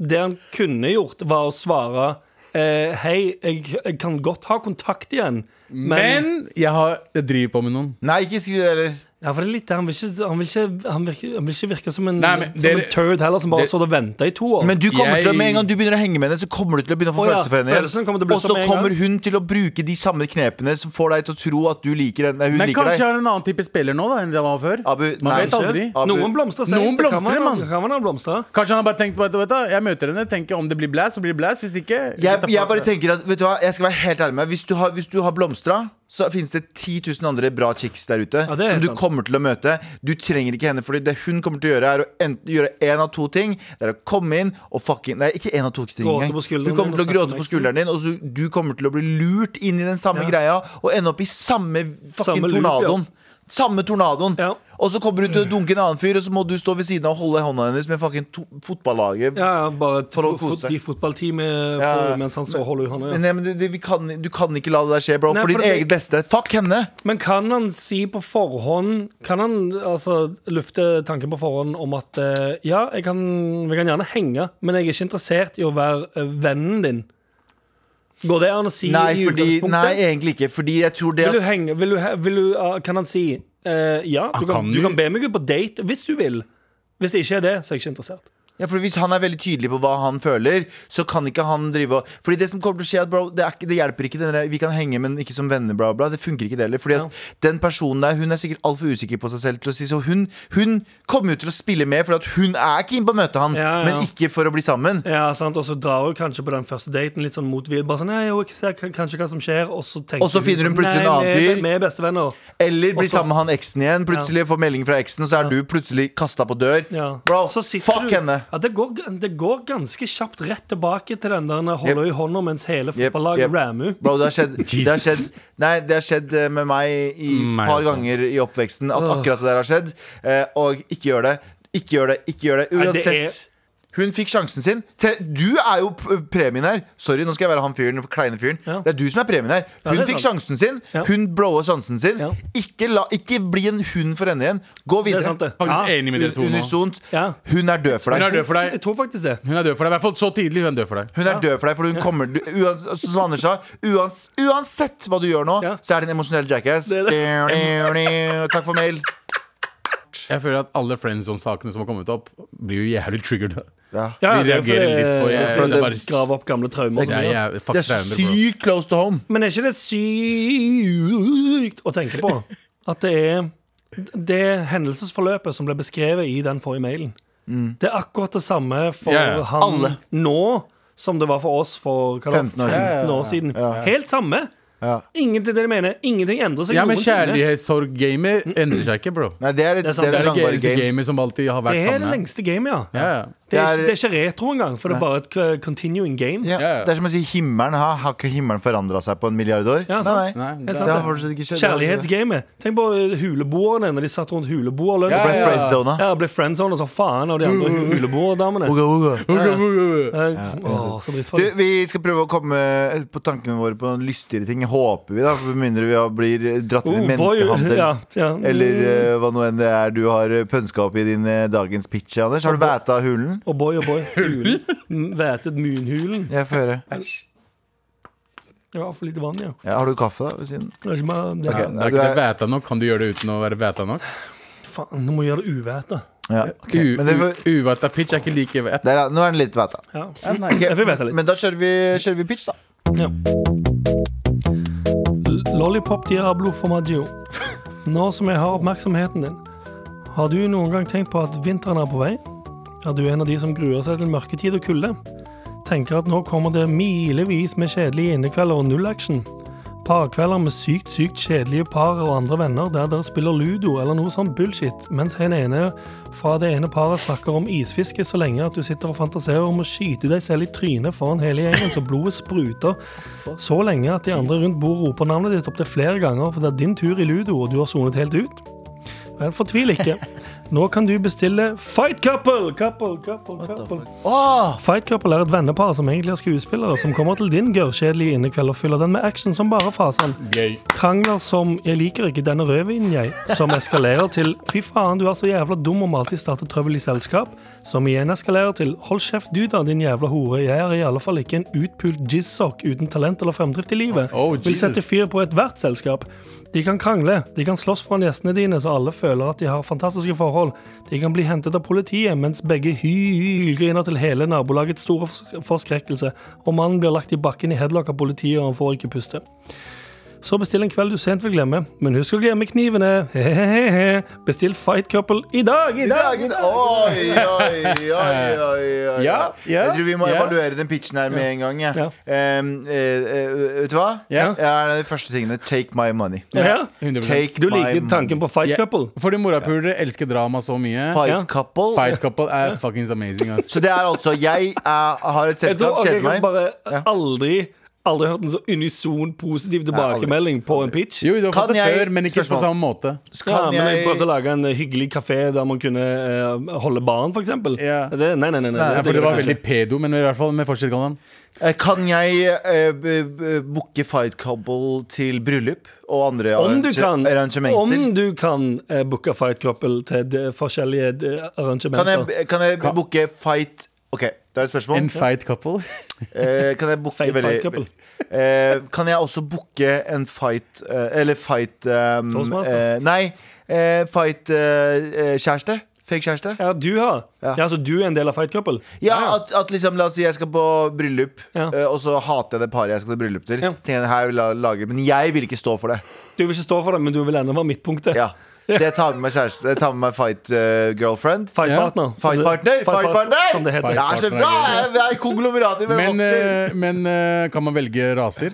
Speaker 3: Det han kunne gjort, var å svare eh, Hei, jeg, jeg kan godt ha kontakt igjen, men,
Speaker 4: Men jeg, har, jeg driver på med noen
Speaker 2: Nei, ikke skriv det heller.
Speaker 3: Ja, for det er litt det. Han vil ikke, han vil ikke, han virker, han vil ikke virke som en,
Speaker 4: Nei, men
Speaker 3: som
Speaker 4: dere-
Speaker 3: en turd heller, som bare
Speaker 4: dere-
Speaker 3: så det og venta i to år.
Speaker 2: Men du kommer
Speaker 4: Jeg-
Speaker 2: til å, med en gang du begynner å henge med henne, så kommer du til å begynne å få
Speaker 3: Å ja,
Speaker 2: følelser for henne
Speaker 3: følelsen
Speaker 2: igjen.
Speaker 3: kommer til å bli
Speaker 2: Og
Speaker 3: som
Speaker 2: så
Speaker 3: med en
Speaker 2: kommer hun til å bruke de samme knepene som får deg til å tro at du liker henne. Nei, hun
Speaker 4: Men
Speaker 2: liker
Speaker 4: kanskje jeg
Speaker 2: deg.
Speaker 4: har en annen type spiller nå da, enn det var før
Speaker 2: Abu,
Speaker 4: Man
Speaker 2: nei. Ah.
Speaker 4: vet aldri
Speaker 2: Abu-
Speaker 3: Noen blomstrer seg.
Speaker 4: Noen
Speaker 3: Det kan
Speaker 4: blomstrer,
Speaker 3: man-
Speaker 4: mann.
Speaker 3: det Kan man ha blomstret.
Speaker 4: Kanskje han har bare tenkt på, vet du, vet du, jeg møter henne, tenker om det blir blæs, så blir det blæs Hvis ikke
Speaker 2: jeg, jeg bare tenker at, vet du hva, jeg skal være helt ærlig med deg. Hvis du har, hvis du har blomstra, så finnes det 10 000 andre bra chicks der ute
Speaker 3: det er
Speaker 2: som du
Speaker 3: sant.
Speaker 2: kommer til å møte. Du trenger ikke henne, Fordi det hun kommer til å gjøre, er å enten gjøre én av to ting. Det er å komme inn og fucking Nei, ikke én av to ting
Speaker 3: Gråte
Speaker 2: engang.
Speaker 3: på skulderen
Speaker 2: Du kommer
Speaker 3: din
Speaker 2: til å
Speaker 3: og snakke
Speaker 2: gråte
Speaker 3: om
Speaker 2: på
Speaker 3: eksen.
Speaker 2: skulderen din, og så, du kommer til å bli lurt inn i den samme
Speaker 3: Ja.
Speaker 2: greia og ende opp i samme fucking
Speaker 3: Samme loop,
Speaker 2: tornadoen. Samme tornadoen.
Speaker 3: Ja.
Speaker 2: Og så kommer du til å dunke en annen fyr, og så må du stå ved siden av og holde hånda hennes med fucking to- fotballaget.
Speaker 3: Ja, ja, bare
Speaker 2: For å
Speaker 3: fot-
Speaker 2: kose seg.
Speaker 3: i
Speaker 2: Ja,
Speaker 3: fotballteamet
Speaker 2: ja.
Speaker 3: på- mens han står og holder i hånda. ja.
Speaker 2: Men, nei, men det, det, vi kan, du kan ikke la det der skje, bro.
Speaker 3: Nei,
Speaker 2: for ditt
Speaker 3: for det-
Speaker 2: eget beste. Fuck henne!
Speaker 3: Men kan han si på forhånd Kan han altså lufte tanken på forhånd om at eh, ja, jeg kan, vi kan gjerne henge, men jeg er ikke interessert i å være eh, vennen din? Går det an å si
Speaker 2: Nei,
Speaker 3: i
Speaker 2: fordi,
Speaker 3: utgangspunktet?
Speaker 2: nei, egentlig ikke. Fordi jeg tror det
Speaker 3: vil du
Speaker 2: at
Speaker 3: henge, vil du, he- vil du, ah, kan han si eh, ja, du
Speaker 2: Ah,
Speaker 4: Han
Speaker 3: kan,
Speaker 4: kan
Speaker 3: du
Speaker 4: jo.
Speaker 3: kan be meg ut på date hvis du vil? Hvis det ikke er det, så er jeg ikke interessert.
Speaker 2: ja, for Hvis han er veldig tydelig på hva han føler, så kan ikke han drive og Fordi det som kommer til å skje, er at, bro, det, er, ikke- det hjelper ikke. Den der, vi kan henge, men ikke som venner, bla, bla. Det funker ikke det heller. Fordi at
Speaker 3: Ja.
Speaker 2: den personen der, hun er sikkert altfor usikker på seg selv til å si så. Hun, hun kommer jo til å spille med fordi at hun er keen på å møte han,
Speaker 3: Ja, ja.
Speaker 2: men ikke for å bli sammen.
Speaker 3: Ja, sant, Og så drar hun kanskje på den første daten litt sånn motvillig. Bare sånn, nei, jo, jeg ser k- kanskje hva som skjer Og så, tenker sånn,
Speaker 2: Og så finner hun plutselig en
Speaker 3: nei,
Speaker 2: annen
Speaker 3: vi er-
Speaker 2: fyr.
Speaker 3: Vi er bestevenner.
Speaker 2: Eller bli
Speaker 3: Og så-
Speaker 2: sammen med han eksen igjen. Plutselig får melding fra eksen, og så er du plutselig kasta på dør.
Speaker 3: Ja.
Speaker 2: Bro,
Speaker 3: Så sitter
Speaker 2: fuck
Speaker 3: du,
Speaker 2: henne!
Speaker 3: Ja, det, går, g- det går ganske kjapt rett tilbake til den der holder i hånda mens hele
Speaker 2: Jep,
Speaker 3: fotballaget
Speaker 2: jep.
Speaker 3: rammer.
Speaker 2: Bro, det har skjedd, det har
Speaker 4: Jesus.
Speaker 2: skjedd Nei, det har skjedd eh, med meg i et
Speaker 4: Meg
Speaker 2: par
Speaker 4: også.
Speaker 2: ganger i oppveksten at akkurat det der har skjedd. Eh, og ikke gjør det. Ikke gjør det. Ikke gjør det.
Speaker 3: Nei, det er-
Speaker 2: Uansett. Hun fikk sjansen sin. Te- Du er jo p- premien her. Sorry, nå skal jeg være han fyren, den kleine fyren.
Speaker 3: Ja.
Speaker 2: Det er du som er premien her.
Speaker 3: det
Speaker 2: Hun
Speaker 3: er
Speaker 2: fikk
Speaker 3: sant.
Speaker 2: sjansen sin.
Speaker 3: Ja.
Speaker 2: Hun blowa sjansen sin.
Speaker 3: Ja.
Speaker 2: Ikke, la, ikke bli en hund for henne igjen. Gå
Speaker 3: Det
Speaker 2: videre.
Speaker 3: er sant, det.
Speaker 4: Faktisk
Speaker 3: Ja,
Speaker 4: enig med dere
Speaker 2: Ah, Un-
Speaker 4: to nå.
Speaker 2: Unisont.
Speaker 3: Ja.
Speaker 2: Hun er død for
Speaker 4: Hun
Speaker 2: deg.
Speaker 4: er død for
Speaker 3: jeg
Speaker 4: deg.
Speaker 3: tror faktisk det.
Speaker 4: Hun er død for deg, I hvert fall så tidlig. Hun er død for deg.
Speaker 2: Hun er død for deg, for hun kommer du, uans, Som Anders sa, uans, uansett hva du gjør nå,
Speaker 3: Ja.
Speaker 2: så er det en emosjonell jackass.
Speaker 3: Det er
Speaker 2: Takk for mail.
Speaker 4: Jeg føler at alle friendzone-sakene som har kommet opp, blir jo jævlig triggered.
Speaker 2: Ja.
Speaker 3: Ja,
Speaker 4: Vi
Speaker 3: det er fordi-
Speaker 4: reagerer litt på-
Speaker 3: det er
Speaker 4: for
Speaker 3: fordi
Speaker 4: det-
Speaker 3: det bare Grave opp gamle traumer.
Speaker 4: Jeg,
Speaker 3: Ja,
Speaker 4: jeg,
Speaker 2: Det er så sykt close to home.
Speaker 3: Men er ikke det sykt å tenke på at det er det hendelsesforløpet som ble beskrevet i den forrige mailen? Det er akkurat det samme for
Speaker 4: Ja, ja.
Speaker 3: han
Speaker 2: Mm. Alle.
Speaker 3: nå som det var for oss for hva var det,
Speaker 2: 15 år siden.
Speaker 3: 15 år siden. Helt samme.
Speaker 2: Ja.
Speaker 3: Ingenting dere mener. Ingenting endrer seg
Speaker 4: Ja, men
Speaker 3: noensinne.
Speaker 4: kjærlighetssorg-gamet endrer seg ikke, bro.
Speaker 2: Nei, det er et,
Speaker 3: Det er sant,
Speaker 2: det er et
Speaker 4: Det er det
Speaker 2: langvarig
Speaker 4: eneste
Speaker 2: game.
Speaker 4: gamet som alltid har
Speaker 3: Det
Speaker 4: vært
Speaker 3: er det
Speaker 4: samme.
Speaker 3: lengste gamet, ja.
Speaker 4: Ja, ja.
Speaker 3: Det
Speaker 2: Det
Speaker 3: er, ikke-
Speaker 2: er-
Speaker 3: det er ikke retro engang, for det er bare et uh, continuing game.
Speaker 2: Ja.
Speaker 4: Ja, ja.
Speaker 2: Det er som å si himmelen har, har ikke himmelen forandra seg på en milliard år?
Speaker 3: Ja,
Speaker 2: nei,
Speaker 3: sant.
Speaker 2: nei.
Speaker 4: Nei,
Speaker 3: Helt
Speaker 4: det-
Speaker 3: sant,
Speaker 2: Det har
Speaker 3: det.
Speaker 2: fortsatt ikke skjedd.
Speaker 3: Kjærlighetsgamet. Tenk på uh, huleboerne når de satt rundt huleboerlunsj.
Speaker 4: Ja,
Speaker 2: Ble
Speaker 4: ja.
Speaker 2: friendzona.
Speaker 3: Ja, ble friendzone som faen av de andre
Speaker 2: Mm.
Speaker 3: hu- huleboerdamene.
Speaker 2: Uga, uga.
Speaker 3: Eh, Åh, så
Speaker 2: Du,
Speaker 3: drittfarlig.
Speaker 2: vi skal prøve å komme på tankene våre på noen lystigere ting, håper vi, da. Med mindre vi har- blir dratt inn i
Speaker 3: Oh, boy.
Speaker 2: menneskehandel.
Speaker 3: Ja, ja.
Speaker 2: Eller eh, hva nå enn det er du har eh, pønska opp i din eh, dagens pitch, Anders. Har du væta hulen?
Speaker 3: Oh boy, oh boy. Hulen. M- Vætet munhulen.
Speaker 2: Jeg får høre.
Speaker 3: Det var for lite vann, ja.
Speaker 2: Ja, har du kaffe, da? Ved siden?
Speaker 3: Det var ikke mer- det-
Speaker 2: Ok.
Speaker 4: Det er ikke det væta nok. Kan du gjøre det uten å være væta nok?
Speaker 3: Faen, nå må jeg gjøre det uvæta.
Speaker 2: Ja. ok.
Speaker 4: U-
Speaker 2: Men det, får-
Speaker 4: u- Uvæta pitch er ikke like væta.
Speaker 2: der, er- nå er den litt væta.
Speaker 3: Ja. Jeg vil væta litt.
Speaker 2: Men da kjører vi, kjører vi pitch, da.
Speaker 3: Ja. L- Lollipop Diablo Formaggio. Nå som jeg har oppmerksomheten din, har du noen gang tenkt på at vinteren er på vei? Er du en av de som gruer seg til mørketid og kulde? Tenker at nå kommer det milevis med kjedelige innekvelder og nullaction? Parkvelder med sykt, sykt kjedelige par og andre venner der dere spiller ludo eller noe sånn bullshit, mens en ene fra det ene paret snakker om isfiske så lenge at du sitter og fantaserer om å skyte deg selv i trynet foran hele gjengen så blodet spruter så lenge at de andre rundt bordet roper navnet ditt opptil flere ganger for det er din tur i ludo og du har sonet helt ut. Vel, fortvil ikke. Nå kan du bestille Fight Couple! Couple, couple, couple. Fight Couple er et vennepar som egentlig er skuespillere, som kommer til din gørrkjedelige innekveld og fyller den med action som bare fasen.
Speaker 4: Gøy.
Speaker 3: Krangler som 'jeg liker ikke denne rødvinen, jeg', som eskalerer til 'fy faen, du er så jævla dum om alltid starter trøbbel i selskap', som igjen eskalerer til 'hold kjeft du da, din jævla hore, jeg er i alle fall ikke en utpult jizzsock uten talent eller fremdrift i livet',
Speaker 4: Oh,
Speaker 3: vil
Speaker 4: Jesus.
Speaker 3: sette fyr på ethvert selskap. De kan krangle, de kan slåss foran gjestene dine så alle føler at de har fantastiske forhold, de kan bli hentet av politiet mens begge hylgriner til hele nabolagets store fors- forskrekkelse, og mannen blir lagt i bakken i headlock av politiet og han får ikke puste. Så bestill en kveld du sent vil glemme, men husk å glemme knivene. Hehehe. Bestill Fight Couple i dag, i dag!
Speaker 2: Dagen, oi, oi, oi, oi, oi.
Speaker 4: Ja, ja,
Speaker 2: Jeg tror vi må
Speaker 4: ja.
Speaker 2: evaluere den pitchen her med en gang. jeg.
Speaker 3: Ja.
Speaker 2: Em, eh, eh, vet du hva?
Speaker 4: Ja.
Speaker 2: Det er en av de første tingene. Take my money.
Speaker 3: Ja.
Speaker 4: 100%.
Speaker 2: Take
Speaker 3: Du
Speaker 2: my
Speaker 3: liker tanken på Fight
Speaker 4: Ja.
Speaker 3: Couple?
Speaker 4: Fordi morapulere elsker drama så mye.
Speaker 2: Fight
Speaker 3: Ja.
Speaker 2: couple.
Speaker 4: Fight couple er fuckings amazing. Ass.
Speaker 2: Så det er altså Jeg er, har et
Speaker 3: Jeg
Speaker 2: selskap,
Speaker 3: tror ok,
Speaker 2: kjeder
Speaker 3: jeg
Speaker 2: meg.
Speaker 3: har bare aldri Aldri hørt en så unison positiv tilbakemelding på en pitch.
Speaker 4: Jo, du har
Speaker 2: Kan
Speaker 4: fått det
Speaker 2: jeg-
Speaker 4: før, men ikke
Speaker 2: Spørsmål.
Speaker 4: på samme måte.
Speaker 3: Ja,
Speaker 2: Kan
Speaker 3: men jeg prøvde å
Speaker 2: jeg
Speaker 3: lage en hyggelig kafé der man kunne eh, holde baren, f.eks.
Speaker 4: Ja.
Speaker 3: Nei, nei, nei. nei,
Speaker 4: Ja,
Speaker 3: det
Speaker 4: for det
Speaker 3: vil
Speaker 4: var
Speaker 3: jeg
Speaker 4: veldig pedo, men i hvert fall med fortsatt kan han.
Speaker 2: Eh, Kan jeg eh, b- b- booke Fight Couple til bryllup og andre
Speaker 3: Om du
Speaker 2: arrange-
Speaker 3: kan, om
Speaker 2: arrangementer?
Speaker 3: du kan eh, booke Fight Couple til de forskjellige de
Speaker 2: Kan
Speaker 3: arrangementer.
Speaker 2: jeg, kan jeg booke fight Ok, det er et spørsmål.
Speaker 4: En fight couple.
Speaker 2: Eh, kan jeg booke
Speaker 3: Fight,
Speaker 2: veldig
Speaker 3: fight couple.
Speaker 2: eh, Kan jeg også booke en fight eh, Eller fight um,
Speaker 3: Toastmaster.
Speaker 2: eh, Nei, eh, fight eh, eh, kjæreste Fake kjæreste
Speaker 3: Ja, du har?
Speaker 2: Ja.
Speaker 3: Ja. så du er en del av Fight Couple?
Speaker 2: Ja, at, at liksom, la oss si jeg skal på bryllup
Speaker 3: Ja.
Speaker 2: eh, Og så hater jeg det paret jeg skal til bryllup til
Speaker 3: Ja.
Speaker 2: Tenker jeg, her vil jeg lage Men jeg vil ikke stå for det
Speaker 3: Du vil ikke stå for det, men du vil enda være midtpunktet.
Speaker 2: ja. Så jeg tar med meg kjæreste Jeg tar med meg fight eh, girlfriend
Speaker 3: Fight
Speaker 4: Ja.
Speaker 3: partner. som
Speaker 2: Fight
Speaker 3: det-
Speaker 2: partner,
Speaker 3: fight
Speaker 2: fight
Speaker 3: partner,
Speaker 2: partner
Speaker 3: Som det heter.
Speaker 2: Det er så bra, jeg, jeg er konglomeratet med
Speaker 4: Men,
Speaker 2: vokser
Speaker 4: eh, men eh, kan man velge raser?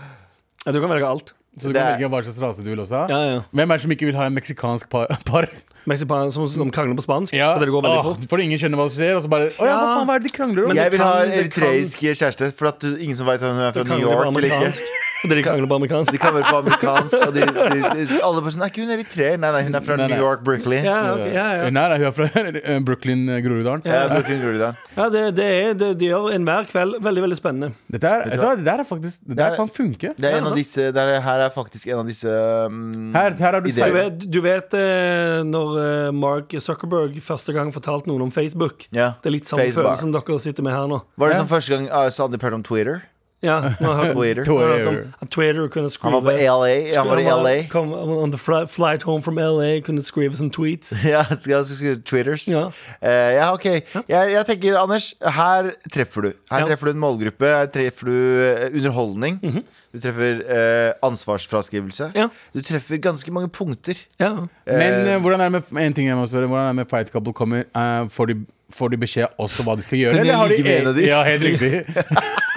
Speaker 3: Ja, du kan velge alt.
Speaker 4: Så du
Speaker 2: Det
Speaker 4: kan
Speaker 2: er-
Speaker 4: velge hva slags rase du vil også ha?
Speaker 3: Ja, ja.
Speaker 4: Hvem er det som ikke vil ha en meksikansk par? par?
Speaker 3: meksipanere som, som krangler på spansk.
Speaker 4: Ja.
Speaker 3: Fordi det går veldig
Speaker 4: Åh,
Speaker 3: fort.
Speaker 4: fordi ingen skjønner hva som skjer. Og så bare Å ja, hva
Speaker 3: Ja.
Speaker 4: faen, hva er det de krangler om?
Speaker 3: Men-
Speaker 2: Jeg
Speaker 3: det
Speaker 2: vil ha
Speaker 3: kan- det kan-
Speaker 2: eritreisk kjæreste, for at du, ingen som veit om hun er fra New
Speaker 3: Krangler på
Speaker 2: York eller
Speaker 3: amerikansk.
Speaker 2: ikke.
Speaker 3: Fordi de krangler på amerikansk.
Speaker 2: De kan være på amerikansk, og de, de, de, alle bare sånn Er ikke hun eritreer? Nei, nei, hun er fra
Speaker 4: Nei, nei.
Speaker 2: New York, Brooklyn.
Speaker 3: Ja, ok, ja, ja.
Speaker 4: Nei, nei, Eh, hun er fra Brooklyn, eh, Groruddalen.
Speaker 2: Ja, Brooklyn Groruddalen.
Speaker 3: ja det, det, er, det de gjør enhver kveld veldig veldig spennende.
Speaker 4: Dette er,
Speaker 2: Vet
Speaker 4: vet
Speaker 2: du
Speaker 4: du hva, det der er faktisk Det
Speaker 2: Det er-
Speaker 4: der kan funke.
Speaker 2: Det er en av disse det er, Her er faktisk en av disse mm,
Speaker 4: Her, her er du
Speaker 2: Ideer.
Speaker 3: Du
Speaker 4: seriøs.
Speaker 3: vet, du vet eh, når eh, Mark Zuckerberg første gang fortalte noen om Facebook?
Speaker 2: Ja.
Speaker 3: Det er litt samme
Speaker 2: Facebook.
Speaker 3: følelsen dere sitter med her nå.
Speaker 2: Var det som første gang uh, Sandeep hørte om Twitter?
Speaker 3: Ja, nå har jeg hørt
Speaker 2: Twitter.
Speaker 3: nå har jeg hørt om at Twitter kunne
Speaker 2: Han var
Speaker 3: skrive
Speaker 2: på LA. Han var i LA.
Speaker 3: Kom, on the fli- flight home from LA Kunne skrive some tweets
Speaker 2: Ja, skal jeg skrive Twitters?
Speaker 3: Ja.
Speaker 2: Eh, ja, ok. Jeg, jeg tenker, Anders, her treffer du. Her
Speaker 3: Ja.
Speaker 2: treffer du en målgruppe. Her treffer du eh, underholdning. Du treffer eh, ansvarsfraskrivelse.
Speaker 3: Ja.
Speaker 2: Du treffer ganske mange punkter.
Speaker 3: Ja,
Speaker 4: Men eh, hvordan er det med en ting jeg må spørre Hvordan er det med Fight Couple kommer? eh, får, de, får de beskjed også hva de skal gjøre?
Speaker 2: Kan jeg
Speaker 4: eller har
Speaker 2: ligge med en av de?
Speaker 4: Ja, helt riktig.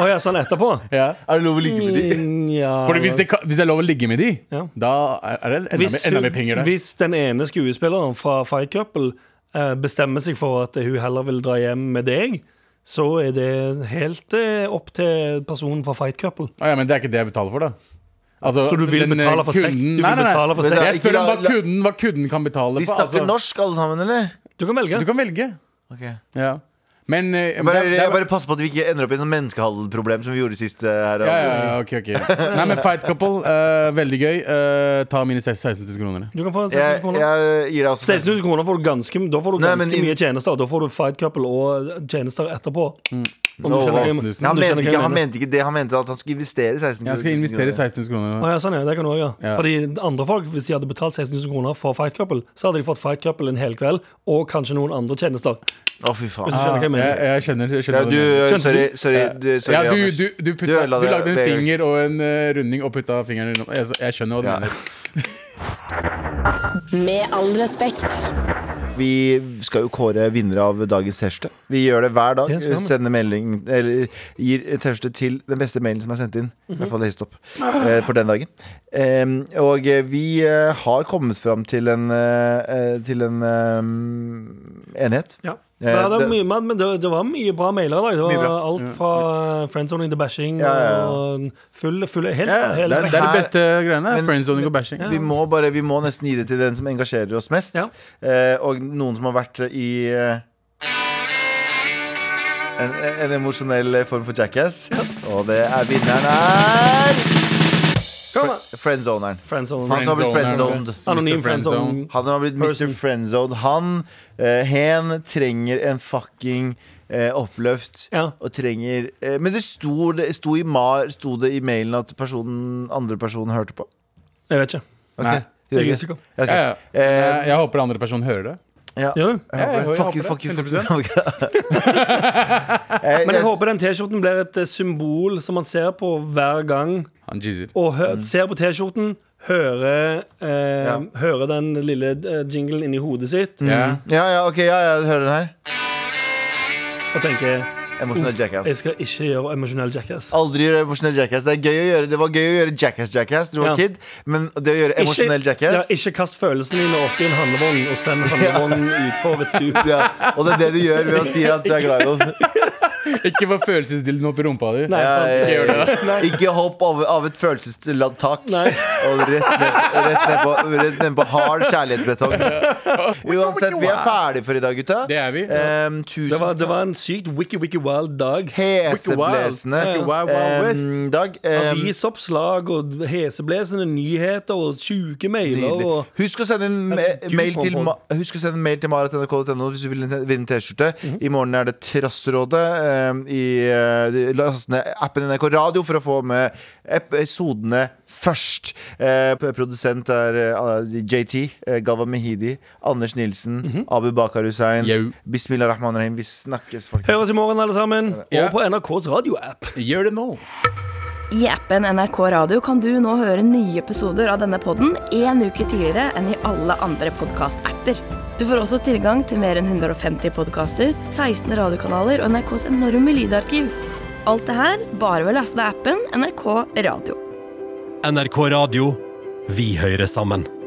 Speaker 3: Å ja, sånn etterpå
Speaker 4: Ja.
Speaker 2: Er det lov å ligge med de?
Speaker 3: Mm, ja,
Speaker 4: Fordi hvis det, kan- hvis det er lov å ligge med de,
Speaker 3: Ja.
Speaker 4: da er er det enda, mer- enda mer penger der.
Speaker 3: hvis den ene skuespilleren fra Fight Couple eh, Bestemmer seg for at hun heller vil dra hjem med deg Så er det helt eh, opp til personen fra Fight Couple
Speaker 4: Å ja, men det er ikke det jeg betaler for, da. Altså,
Speaker 3: Så du vil
Speaker 4: den, eh,
Speaker 3: betale for sex?
Speaker 4: kunden-
Speaker 3: Du vil
Speaker 4: Nei, nei, nei.
Speaker 3: betale for
Speaker 2: Men det
Speaker 3: sex
Speaker 2: er-
Speaker 4: Jeg spør om
Speaker 2: Ikke la-
Speaker 4: hva kunden, hva kunden kan betale
Speaker 2: De
Speaker 4: for.
Speaker 2: snakker
Speaker 4: altså.
Speaker 2: norsk, alle sammen, eller?
Speaker 3: Du kan velge
Speaker 4: Du kan velge.
Speaker 2: Ok.
Speaker 4: Ja. Men eh,
Speaker 2: Jeg bare,
Speaker 4: det er- det er-
Speaker 2: jeg bare passer på at vi ikke ender opp i et sånt menneskehandelproblem som vi gjorde sist. eh, her
Speaker 4: ja, ja, ja, ok, ok Nei, men Fight Couple, eh, veldig gøy. Eh, ta mine 16 000 kroner.
Speaker 3: Du kan få 16
Speaker 2: Jeg,
Speaker 3: 000 kroner
Speaker 2: jeg gir deg også
Speaker 3: 16 000 kroner får du ganske, da får du
Speaker 2: Nei,
Speaker 3: ganske
Speaker 2: men i-
Speaker 3: mye tjenester Da får du Fight Couple og eh, tjenester etterpå Om du
Speaker 2: Nå,
Speaker 3: skjønner hva jeg-
Speaker 2: han,
Speaker 3: om du skjønner
Speaker 2: mente
Speaker 3: hva jeg
Speaker 2: ikke, han
Speaker 3: mener.
Speaker 2: mente ikke det, han mente at han skulle investere 16 000
Speaker 4: Jeg skal investere 16 000 kroner.
Speaker 3: Å ja, sånn ja, det kan du også gjøre.
Speaker 4: Ja.
Speaker 3: Fordi andre folk, Hvis de hadde betalt 16 000 kroner for Fight Couple, så hadde de fått Fight Couple en hel kveld, og kanskje noen andre tjenester.
Speaker 2: Å, fy faen.
Speaker 3: Hvis du skjønner hva jeg
Speaker 4: jeg,
Speaker 3: mener.
Speaker 4: jeg skjønner. Jeg
Speaker 2: Ja,
Speaker 4: skjønner hva
Speaker 2: du,
Speaker 4: du mener.
Speaker 2: sorry, sorry, du, eh, sorry
Speaker 4: ja, du,
Speaker 2: Anders.
Speaker 4: du, du, putta, du,
Speaker 2: ødela det,
Speaker 4: lagde en
Speaker 2: Vegard.
Speaker 4: finger og en eh, runding og putta fingeren innom. Jeg, jeg skjønner hva du
Speaker 2: Ja.
Speaker 4: mener.
Speaker 1: Med all respekt.
Speaker 2: Vi skal jo kåre vinnere av dagens T-skjorte. Vi gjør det hver dag.
Speaker 3: Det skal vi.
Speaker 2: Sender melding Eller gir T-skjorte til den beste mailen som er sendt inn. I hvert fall lest opp
Speaker 3: Mhm.
Speaker 2: eh, for den dagen. Em, og eh, vi eh, har kommet fram til en eh, eh, Til en eh, enighet.
Speaker 3: Ja.
Speaker 2: Eh,
Speaker 3: Men det,
Speaker 2: det-
Speaker 3: var mye, men det, det var mye bra mailer i dag. Det
Speaker 2: Mye
Speaker 3: var
Speaker 2: bra.
Speaker 3: alt fra friendzoning til bashing
Speaker 2: Ja, ja, ja.
Speaker 3: og full, full helt,
Speaker 4: Ja, det,
Speaker 3: helt
Speaker 4: er, det er
Speaker 2: Her-
Speaker 4: de beste greiene.
Speaker 2: Men-
Speaker 4: Friendzoning og bashing.
Speaker 2: Vi må, bare, vi må nesten gi det til den som engasjerer oss mest.
Speaker 3: Ja.
Speaker 2: Eh, og noen som har vært i eh, en, en emosjonell form for jackass. Og det er vinneren er
Speaker 3: Kom da.
Speaker 2: Friendzoneren.
Speaker 3: Friendzone.
Speaker 2: Faen. har blitt friendzoned.
Speaker 3: Anonym friendzone.
Speaker 2: Han har blitt Mr.
Speaker 3: Person.
Speaker 2: Friendzone. Han, eh, hen, trenger en fucking eh, oppløft.
Speaker 3: Ja.
Speaker 2: Og trenger eh, Men det sto, det sto i mar, sto det i mailen at personen, andre personen hørte på?
Speaker 3: Jeg vet ikke.
Speaker 2: Ok.
Speaker 4: Nei.
Speaker 3: Jeg er
Speaker 2: Gjør det?
Speaker 3: usikker.
Speaker 2: Ok.
Speaker 4: Ja, ja.
Speaker 2: Eh,
Speaker 4: Jeg, jeg håper andre person hører det.
Speaker 2: ja.
Speaker 3: Gjør du?
Speaker 2: Jeg håper det.
Speaker 4: Ja,
Speaker 2: Fuck you,
Speaker 4: jeg
Speaker 2: fuck you, fuck
Speaker 4: håper
Speaker 2: you. Eh,
Speaker 4: det.
Speaker 2: Jeg-
Speaker 3: Men jeg
Speaker 2: jeg-
Speaker 3: håper den T-skjorten blir et eh, symbol som man ser på hver gang
Speaker 4: Han jizzer.
Speaker 3: og hø ser på T-skjorten, hører, eh,
Speaker 2: Mm. Ja.
Speaker 3: hører den lille eh, jinglen inni
Speaker 2: Mm.
Speaker 3: hodet sitt
Speaker 4: Ja.
Speaker 2: Ja, ja, ok, ja, ja, du hører den her.
Speaker 3: og tenker
Speaker 2: Emosjonell
Speaker 3: jeg
Speaker 2: jackass.
Speaker 3: skal ikke gjøre emosjonell jackass.
Speaker 2: Aldri gjøre emosjonell jackass. Det, er gøy å gjøre, det var gøy å gjøre jackass-jackass du var
Speaker 3: Ja.
Speaker 2: kid, men det å gjøre emosjonell
Speaker 3: Ikke, ja,
Speaker 2: jackass
Speaker 3: ikke kast følelsene dine oppi en handlevogn og send handlevognen utfor et stup.
Speaker 2: ja, Og det er det du gjør ved å si at du er glad i noen.
Speaker 4: Ikke få følelsesdilden opp i rumpa di.
Speaker 3: Nei,
Speaker 2: Ja,
Speaker 3: sant?
Speaker 2: ja, ja, ja.
Speaker 3: Nei.
Speaker 2: Ikke hopp av, av et følelsesladd tak
Speaker 3: Nei.
Speaker 2: og rett ned, rett, ned på, rett ned på hard kjærlighetsbetong. Uansett, vi er ferdige for i dag, gutta.
Speaker 4: Det er vi.
Speaker 2: Em, tusen
Speaker 3: Det var, det var en sykt wicky, wicky wild dag.
Speaker 2: heseblesende
Speaker 4: Wicked Wild Wild West.
Speaker 2: em, dag. Em,
Speaker 3: Avisoppslag og heseblesende nyheter og sjuke mailer
Speaker 2: Nydelig.
Speaker 3: og
Speaker 2: Husk å sende en ma-
Speaker 3: Herregud, for
Speaker 2: mail
Speaker 3: en
Speaker 2: til,
Speaker 3: podd.
Speaker 2: ma- Husk å sende en mail til marat.nrk.no hvis du vil vinne T-skjorte. I morgen er det Trassrådet. em, i, eh, de- Last ned appen NRK Radio for å få med episodene først. Eh, p- produsent er eh, JT, eh, Galvan Mehidi, Anders Nilsen, Abu Bakar Hussein.
Speaker 4: Jau.
Speaker 2: Bismillah rahman rahim. Vi snakkes, folk.
Speaker 3: Høres i morgen, alle sammen.
Speaker 4: Ja.
Speaker 3: Og på NRKs radioapp.
Speaker 4: Gjør det nå.
Speaker 8: I appen NRK Radio kan du nå høre nye episoder av denne podden en uke tidligere enn i alle andre podkast-apper. Du får også tilgang til mer enn 150 podkaster, 16 radiokanaler og NRKs enorme lydarkiv. Alt det her bare ved å laste ned appen NRK Radio.
Speaker 9: NRK Radio. Vi hører sammen.